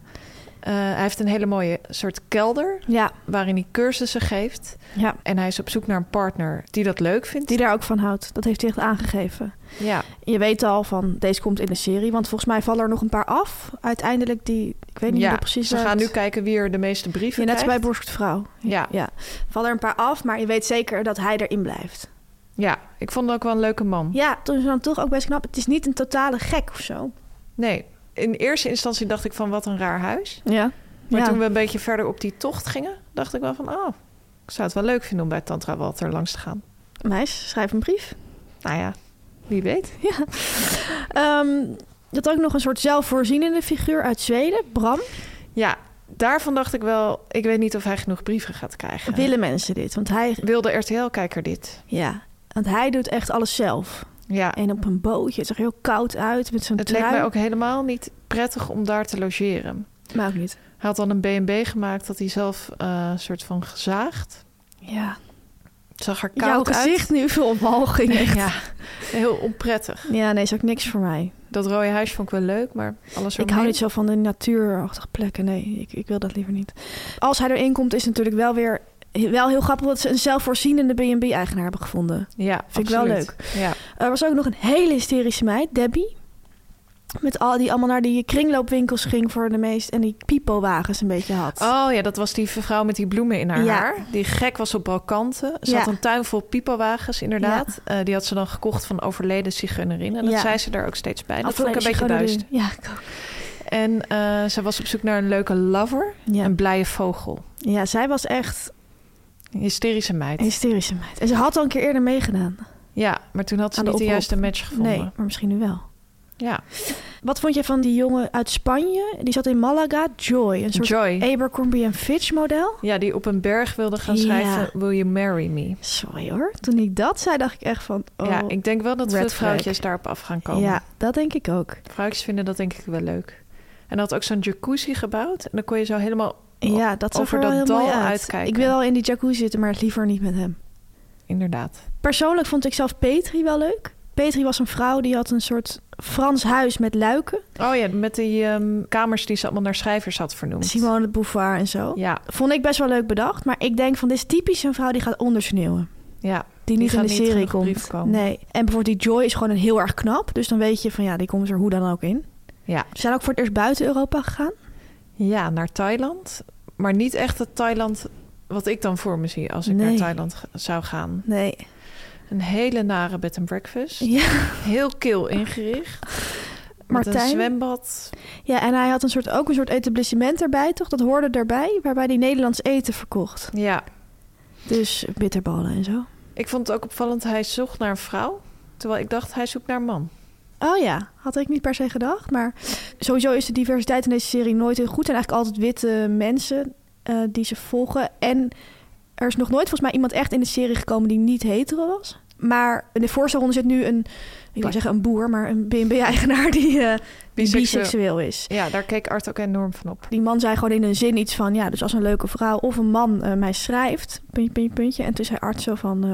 Speaker 2: Eh, hij heeft een hele mooie soort kelder
Speaker 1: Ja,
Speaker 2: waarin hij cursussen geeft.
Speaker 1: ja,
Speaker 2: En hij is op zoek naar een partner die dat leuk vindt.
Speaker 1: die daar ook van houdt. Dat heeft hij echt aangegeven.
Speaker 2: Ja,
Speaker 1: Je weet al van, deze komt in de serie, want volgens mij vallen er nog een paar af. Uiteindelijk die, ik weet niet
Speaker 2: ja.
Speaker 1: hoe dat precies
Speaker 2: ze gaan
Speaker 1: werkt.
Speaker 2: nu kijken wie er de meeste brieven
Speaker 1: Ja, net als bij
Speaker 2: krijgt.
Speaker 1: Borstvrouw.
Speaker 2: Ja.
Speaker 1: ja. Vallen er een paar af, maar je weet zeker dat hij erin blijft.
Speaker 2: Ja, ik vond het ook wel een leuke man.
Speaker 1: Ja, toen is dan toch ook best knap. Het is niet een totale gek of zo.
Speaker 2: Nee, in eerste instantie dacht ik van wat een raar huis.
Speaker 1: Ja.
Speaker 2: Maar
Speaker 1: ja.
Speaker 2: toen we een beetje verder op die tocht gingen, dacht ik wel van... oh, ik zou het wel leuk vinden om bij Tantra Walter langs te gaan.
Speaker 1: Meis, schrijf een brief.
Speaker 2: Nou ja, wie weet.
Speaker 1: Ja. Ehm dat ook nog een soort zelfvoorzienende figuur uit Zweden. Bram.
Speaker 2: Ja, daarvan dacht ik wel... ik weet niet of hij genoeg brieven gaat krijgen.
Speaker 1: Willen mensen dit? Want hij,
Speaker 2: Wilde RTL-kijker dit.
Speaker 1: ja, want hij doet echt alles zelf.
Speaker 2: Ja,
Speaker 1: En op een bootje. Het zag heel koud uit met zo'n
Speaker 2: het
Speaker 1: trui.
Speaker 2: leek mij ook helemaal niet prettig om daar te logeren.
Speaker 1: Maar ook niet.
Speaker 2: Hij had dan een B&B gemaakt dat hij zelf eh soort van gezaagd.
Speaker 1: Ja.
Speaker 2: Het zag er
Speaker 1: Jouw
Speaker 2: koud
Speaker 1: gezicht nu veel omhoog ging
Speaker 2: uit.
Speaker 1: echt.
Speaker 2: Ja, heel onprettig.
Speaker 1: Ja, nee, is ook niks voor mij.
Speaker 2: Dat rode huis vond ik wel leuk, maar alles
Speaker 1: Ik hou
Speaker 2: eromheen-
Speaker 1: niet zo van de natuurachtige plekken. Nee, ik, ik wil dat liever niet. Als hij erin komt, is het natuurlijk wel weer wel heel grappig dat ze een zelfvoorzienende B&B-eigenaar hebben gevonden.
Speaker 2: Ja,
Speaker 1: Vind ik wel
Speaker 2: absoluut. Ja.
Speaker 1: Er was ook nog een hele hysterische meid, Debbie. Met al die allemaal naar die kringloopwinkels ging voor de meest. En die pipowagens een beetje had.
Speaker 2: Oh ja, dat was die vrouw met die bloemen in haar
Speaker 1: Ja.
Speaker 2: haar. Die gek was op balkanten. Ze
Speaker 1: Ja.
Speaker 2: had een tuin vol pipowagens, inderdaad. Eh, die had ze dan gekocht van overleden zigeunerin. En dat
Speaker 1: Ja.
Speaker 2: zei ze daar ook steeds bij. Dat
Speaker 1: Afgeleide
Speaker 2: vond ik een beetje
Speaker 1: psychologie.
Speaker 2: duist.
Speaker 1: Ja, ik ook.
Speaker 2: En eh, ze was op zoek naar een leuke lover.
Speaker 1: Ja.
Speaker 2: Een blije vogel.
Speaker 1: ja, zij was echt
Speaker 2: Een hysterische meid.
Speaker 1: een hysterische meid. En ze had al een keer eerder meegedaan.
Speaker 2: Ja, maar toen had ze
Speaker 1: Aan de
Speaker 2: niet de
Speaker 1: oproep.
Speaker 2: juiste match gevonden.
Speaker 1: Nee, maar misschien nu wel.
Speaker 2: Ja,
Speaker 1: Wat vond je van die jongen uit Spanje? Die zat in Malaga. Joy. Een soort e-
Speaker 2: Joy.
Speaker 1: Abercrombie en Fitch model.
Speaker 2: Ja, die op een berg wilde gaan
Speaker 1: Ja.
Speaker 2: schrijven... Will you marry me?
Speaker 1: Sorry hoor. Toen ik dat zei, dacht ik echt van... Oh,
Speaker 2: ja, ik denk wel dat
Speaker 1: red
Speaker 2: veel
Speaker 1: flag.
Speaker 2: vrouwtjes daarop af gaan komen.
Speaker 1: Ja, dat denk ik ook.
Speaker 2: Vrouwtjes vinden dat denk ik wel leuk. En hij had ook zo'n jacuzzi gebouwd. En dan kon je zo helemaal...
Speaker 1: Ja, dat zag
Speaker 2: over
Speaker 1: er wel
Speaker 2: dat
Speaker 1: heel mooi
Speaker 2: dal
Speaker 1: uit.
Speaker 2: uitkijken.
Speaker 1: Ik wil wel in die jacuzzi zitten, maar het liever niet met hem.
Speaker 2: Oh, Inderdaad.
Speaker 1: Persoonlijk vond ik zelf Petri wel leuk. Petri was een vrouw die had een soort Frans huis met luiken.
Speaker 2: Oh ja, met die ehm, kamers die ze allemaal naar schrijvers had vernoemd.
Speaker 1: Simone de Beauvoir en zo.
Speaker 2: Ja,
Speaker 1: Vond ik best wel leuk bedacht. Maar ik denk van dit is typisch een vrouw die gaat ondersneeuwen.
Speaker 2: ja.
Speaker 1: Die niet
Speaker 2: gaat
Speaker 1: in de serie
Speaker 2: genoeg
Speaker 1: komt.
Speaker 2: brief komen.
Speaker 1: Nee. En bijvoorbeeld die Joy is gewoon een heel erg knap. Dus dan weet je van ja, die komt er hoe dan ook in.
Speaker 2: Ja.
Speaker 1: Ze zijn ook voor het eerst buiten Europa gegaan.
Speaker 2: ja, naar Thailand. Maar niet echt het Thailand wat ik dan voor me zie als ik
Speaker 1: Nee.
Speaker 2: naar Thailand g- zou gaan.
Speaker 1: Nee.
Speaker 2: Een hele nare bed and breakfast.
Speaker 1: Ja.
Speaker 2: Heel kil ingericht. Met een
Speaker 1: Martijn?
Speaker 2: zwembad.
Speaker 1: ja, en hij had een soort, ook een soort etablissement erbij, toch? Dat hoorde erbij, waarbij hij Nederlands eten verkocht.
Speaker 2: Ja,
Speaker 1: Dus bitterballen en zo.
Speaker 2: ik vond het ook opvallend. Hij zocht naar een vrouw. Terwijl ik dacht, hij zoekt naar een man.
Speaker 1: Oh ja, had ik niet per se gedacht. Maar sowieso is de diversiteit in deze serie nooit heel goed. En eigenlijk altijd witte mensen eh, die ze volgen. En er is nog nooit volgens mij iemand echt in de serie gekomen die niet hetero was. Maar in de voorstelronde zit nu een, ik wil zeggen een boer, maar een BNB-eigenaar die eh
Speaker 2: Biseksueel.
Speaker 1: biseksueel is.
Speaker 2: Ja, daar keek Art ook enorm van op.
Speaker 1: Die man zei gewoon in een zin iets van, ja, dus als een leuke vrouw of een man eh, mij schrijft, puntje, puntje, puntje. En toen zei Art zo van, eh,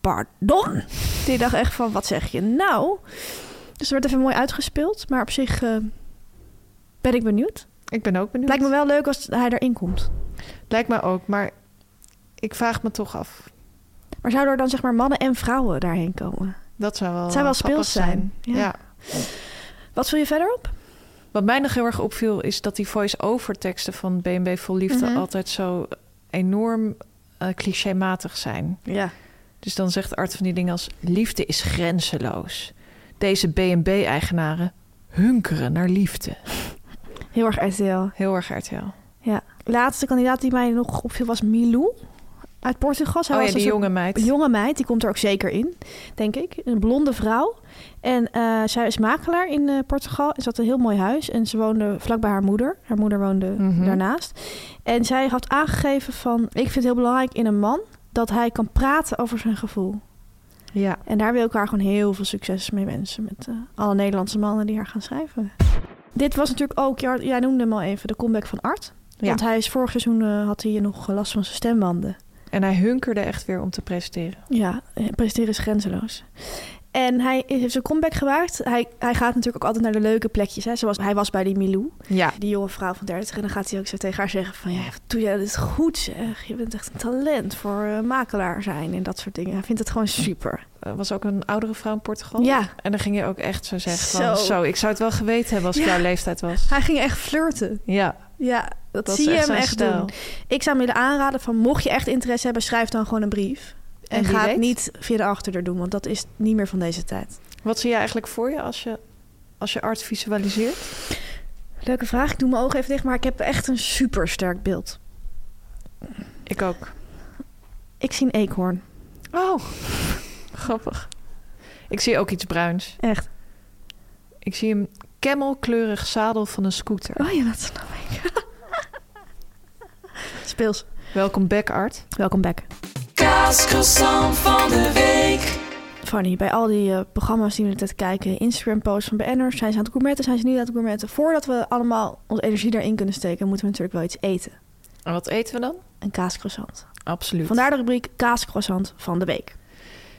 Speaker 1: pardon? Die dacht echt van, wat zeg je nou? Dus er werd even mooi uitgespeeld, maar op zich eh, ben ik benieuwd.
Speaker 2: Ik ben ook benieuwd.
Speaker 1: Lijkt me wel leuk als hij erin komt.
Speaker 2: Lijkt me ook, maar ik vraag me toch af.
Speaker 1: Maar zouden er dan zeg maar mannen en vrouwen daarheen komen?
Speaker 2: Dat zou wel,
Speaker 1: Het zou wel
Speaker 2: grappig
Speaker 1: speels zijn,
Speaker 2: Ja.
Speaker 1: ja. Wat vul je verder op?
Speaker 2: Wat mij nog heel erg opviel is dat die voice-over teksten van BNB Vol Liefde
Speaker 1: Mhm.
Speaker 2: altijd zo enorm eh clichématig zijn.
Speaker 1: Ja.
Speaker 2: Dus dan zegt Art van die dingen als... liefde is grenzeloos. Deze B&B-eigenaren hunkeren naar liefde.
Speaker 1: Heel erg RTL.
Speaker 2: Heel erg RTL.
Speaker 1: Ja. Laatste kandidaat die mij nog opviel was Milou uit Portugal. Zij
Speaker 2: oh
Speaker 1: was dus een
Speaker 2: ja, die
Speaker 1: soort
Speaker 2: jonge meid.
Speaker 1: jonge meid, die komt er ook zeker in, denk ik. Een blonde vrouw. En eh, zij is makelaar in eh, Portugal. Ze had een heel mooi huis en ze woonde vlak bij haar moeder. Haar moeder woonde
Speaker 2: Mhm.
Speaker 1: daarnaast. En zij had aangegeven van, ik vind het heel belangrijk in een man dat hij kan praten over zijn gevoel.
Speaker 2: Ja.
Speaker 1: En daar wil ik haar gewoon heel veel succes mee wensen. Met eh, alle Nederlandse mannen die haar gaan schrijven. Dit was natuurlijk ook, ja, jij noemde hem al even, de comeback van Art.
Speaker 2: Ja.
Speaker 1: Want hij is vorig seizoen eh, had hij nog last van zijn stembanden.
Speaker 2: En hij hunkerde echt weer om te presteren.
Speaker 1: Ja, eh, presteren is grenzeloos. En hij heeft zijn comeback gewaagd. Hij, hij gaat natuurlijk ook altijd naar de leuke plekjes. Hè. Zoals hij was bij die Milou,
Speaker 2: Ja.
Speaker 1: die jonge vrouw van 30. En dan gaat hij ook zo tegen haar zeggen van... Ja, wat doe jij dit goed zeg. Je bent echt een talent voor eh, makelaar zijn en dat soort dingen. Hij vindt het gewoon super.
Speaker 2: Er Eh, was ook een oudere vrouw in Portugal.
Speaker 1: Ja,
Speaker 2: En dan ging je ook echt zo zeggen van...
Speaker 1: Zo.
Speaker 2: Zo, ik zou het wel geweten hebben als ik
Speaker 1: Ja.
Speaker 2: jouw leeftijd was.
Speaker 1: hij ging echt flirten.
Speaker 2: Ja,
Speaker 1: Ja, dat,
Speaker 2: dat
Speaker 1: zie
Speaker 2: is
Speaker 1: je
Speaker 2: echt
Speaker 1: hem
Speaker 2: zijn
Speaker 1: echt
Speaker 2: stijl.
Speaker 1: doen. Ik zou hem willen aanraden van mocht je echt interesse hebben, schrijf dan gewoon een brief. En,
Speaker 2: En wie
Speaker 1: ga het
Speaker 2: weet?
Speaker 1: niet via de achterdeur doen, want dat is niet meer van deze tijd.
Speaker 2: Wat zie jij eigenlijk voor je als je, als je art visualiseert?
Speaker 1: Leuke vraag. Ik doe mijn ogen even dicht, maar ik heb echt een super sterk beeld.
Speaker 2: Ik ook.
Speaker 1: Ik zie een eekhoorn.
Speaker 2: Oh, grappig. Ik zie ook iets bruins.
Speaker 1: Echt.
Speaker 2: Ik zie een camelkleurig zadel van een scooter.
Speaker 1: Oh ja, dat snap ik. Speels.
Speaker 2: Welkom back, Art.
Speaker 1: Welkom back.
Speaker 3: Kaascroissant van de week.
Speaker 1: Fanny, bij al die eh, programma's die we net kijken, Instagram-posts van BN'ers, zijn ze aan het gourmetten, zijn ze niet aan het gourmetten. Voordat we allemaal onze energie daarin kunnen steken, moeten we natuurlijk wel iets eten.
Speaker 2: En wat eten we dan?
Speaker 1: Een kaascroissant.
Speaker 2: Absoluut.
Speaker 1: Vandaar de rubriek kaascroissant van de week.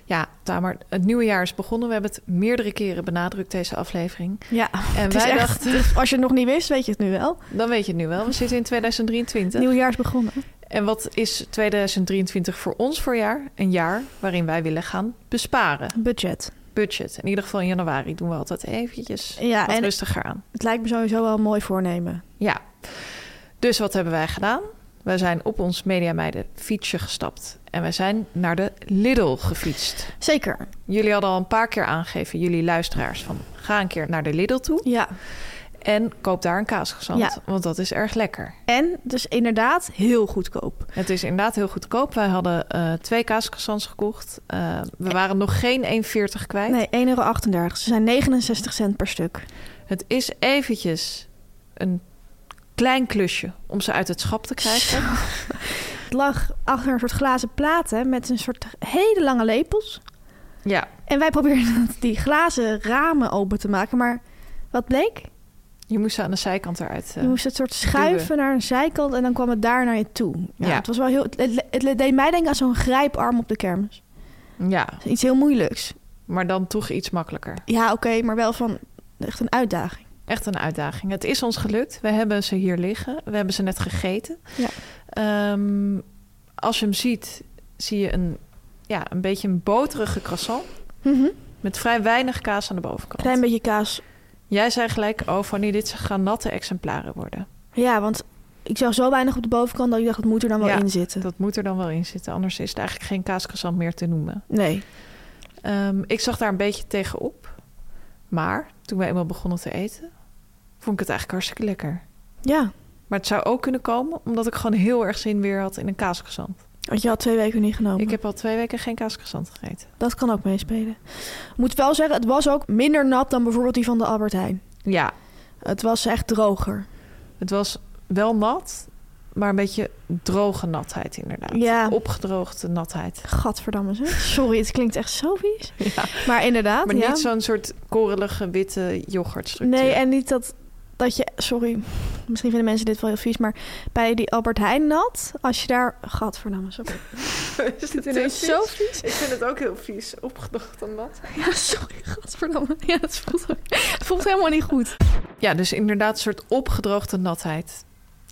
Speaker 2: Ja, Tamer, het nieuwe jaar is begonnen. We hebben het meerdere keren benadrukt, deze aflevering.
Speaker 1: Ja,
Speaker 2: En
Speaker 1: het is
Speaker 2: wij
Speaker 1: echt-
Speaker 2: dachten,
Speaker 1: als je het nog niet wist, weet je het nu wel.
Speaker 2: dan weet je het nu wel. We zitten in 2023.
Speaker 1: Nieuwjaar is begonnen.
Speaker 2: En wat is 2023 voor ons voor jaar? Een jaar waarin wij willen gaan besparen.
Speaker 1: Budget.
Speaker 2: Budget. In ieder geval in januari doen we altijd eventjes
Speaker 1: Ja,
Speaker 2: wat
Speaker 1: en-
Speaker 2: rustiger aan.
Speaker 1: Het lijkt me sowieso wel een mooi voornemen.
Speaker 2: Ja. Dus wat hebben wij gedaan? Wij zijn op ons Mediameiden fietsje gestapt. En wij zijn naar de Lidl gefietst.
Speaker 1: Zeker.
Speaker 2: Jullie hadden al een paar keer aangegeven, jullie luisteraars, van ga een keer naar de Lidl toe
Speaker 1: Ja.
Speaker 2: en koop daar een kaasgezand.
Speaker 1: Ja.
Speaker 2: Want dat is erg lekker.
Speaker 1: En dus inderdaad heel goedkoop.
Speaker 2: Het is inderdaad heel goedkoop. Wij hadden eh, twee kaasgezands gekocht. Eh, we waren nog geen 1,40 kwijt.
Speaker 1: Nee, 1,38 euro. Ze zijn 69 cent per stuk.
Speaker 2: Het is eventjes een klein klusje om ze uit het schap te krijgen.
Speaker 1: Het lag achter een soort glazen platen met een soort hele lange lepels.
Speaker 2: Ja,
Speaker 1: En wij probeerden die glazen ramen open te maken. Maar wat bleek?
Speaker 2: je moest ze aan de zijkant eruit. eh,
Speaker 1: Je moest het soort schuiven
Speaker 2: duwen.
Speaker 1: naar een zijkant en dan kwam het daar naar je toe. Ja,
Speaker 2: Ja.
Speaker 1: Het, was wel heel, het, het- het deed mij denken aan zo'n grijparm op de kermis. Mm.
Speaker 2: Ja,
Speaker 1: Iets heel moeilijks.
Speaker 2: maar dan toch iets makkelijker.
Speaker 1: Ja, oké, maar wel van echt een uitdaging.
Speaker 2: Echt een uitdaging. Het is ons gelukt. We hebben ze hier liggen. We hebben ze net gegeten.
Speaker 1: Ja.
Speaker 2: Ehm, als je hem ziet, zie je een, ja, een beetje een boterige croissant. Mhm. Met vrij weinig kaas aan de bovenkant.
Speaker 1: Klein beetje kaas.
Speaker 2: Jij zei gelijk, oh Fanny, dit gaan natte exemplaren worden.
Speaker 1: Ja, want ik zag zo weinig op de bovenkant dat ik dacht, het moet er dan wel
Speaker 2: Ja.
Speaker 1: in zitten.
Speaker 2: Dat moet er dan wel in zitten. Anders is het eigenlijk geen kaascroissant meer te noemen.
Speaker 1: Nee.
Speaker 2: Ehm, ik zag daar een beetje tegenop. Maar toen we eenmaal begonnen te eten, vond ik het eigenlijk hartstikke lekker.
Speaker 1: Ja,
Speaker 2: Maar het zou ook kunnen komen omdat ik gewoon heel erg zin weer had in een kaasgezant.
Speaker 1: want je had twee weken niet genomen.
Speaker 2: Ik heb al twee weken geen kaasgezant gegeten.
Speaker 1: Dat kan ook meespelen. Moet wel zeggen, het was ook minder nat dan bijvoorbeeld die van de Albert Heijn.
Speaker 2: Ja,
Speaker 1: Het was echt droger.
Speaker 2: het was wel nat, maar een beetje droge natheid inderdaad.
Speaker 1: Ja.
Speaker 2: Opgedroogde natheid.
Speaker 1: Gadverdamme zeg. Sorry, het klinkt echt zo vies.
Speaker 2: Ja.
Speaker 1: Maar inderdaad,
Speaker 2: Maar
Speaker 1: ja.
Speaker 2: niet zo'n soort korelige witte yoghurtstructuur.
Speaker 1: Nee, en niet dat, dat je... Sorry, misschien vinden mensen dit wel heel vies, maar bij die Albert Heijn nat, als je daar... Gadverdamme, sorry.
Speaker 2: is het
Speaker 1: Het is zo vies.
Speaker 2: Ik vind het ook heel vies, opgedroogd en nat.
Speaker 1: Ja, sorry, gadverdamme. Ja, het voelt, het voelt helemaal niet goed.
Speaker 2: Ja, dus inderdaad een soort opgedroogde natheid.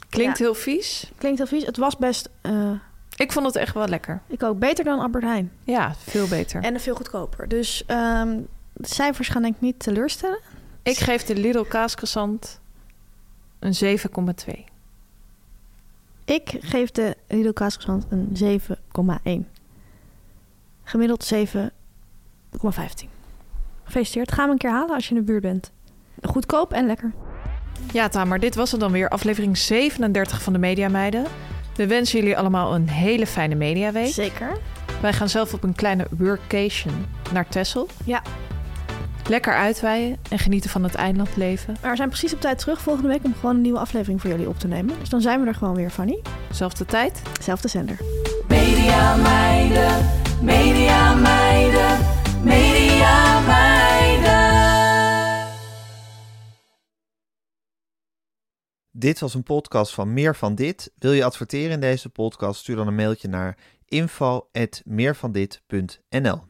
Speaker 2: Klinkt
Speaker 1: Ja.
Speaker 2: heel vies.
Speaker 1: Klinkt heel vies. Het was best, eh,
Speaker 2: Ik vond het echt wel lekker.
Speaker 1: ik ook, beter dan Albert Heijn.
Speaker 2: Ja, veel beter.
Speaker 1: En veel goedkoper. Dus ehm, de cijfers gaan denk ik niet teleurstellen.
Speaker 2: Ik geef de Lidl kaascroissant een 7,2.
Speaker 1: Ik geef de Lidl kaasgezant een 7,1. Gemiddeld 7,15. Gefeliciteerd. Ga hem een keer halen als je in de buurt bent. Goedkoop en lekker.
Speaker 2: Ja, Tamer, dit was het dan weer. Aflevering 37 van de Media Meiden. We wensen jullie allemaal een hele fijne mediaweek.
Speaker 1: Zeker.
Speaker 2: Wij gaan zelf op een kleine workation naar Texel.
Speaker 1: Ja.
Speaker 2: Lekker uitweiden en genieten van het eilandleven.
Speaker 1: Maar we zijn precies op tijd terug volgende week om gewoon een nieuwe aflevering voor jullie op te nemen. Dus dan zijn we er gewoon weer, Fanny.
Speaker 2: Zelfde tijd.
Speaker 1: Zelfde zender.
Speaker 3: Media meiden, media meiden, media meiden.
Speaker 4: Dit was een podcast van Meer van Dit. Wil je adverteren in deze podcast? Stuur dan een mailtje naar info@meervandit.nl.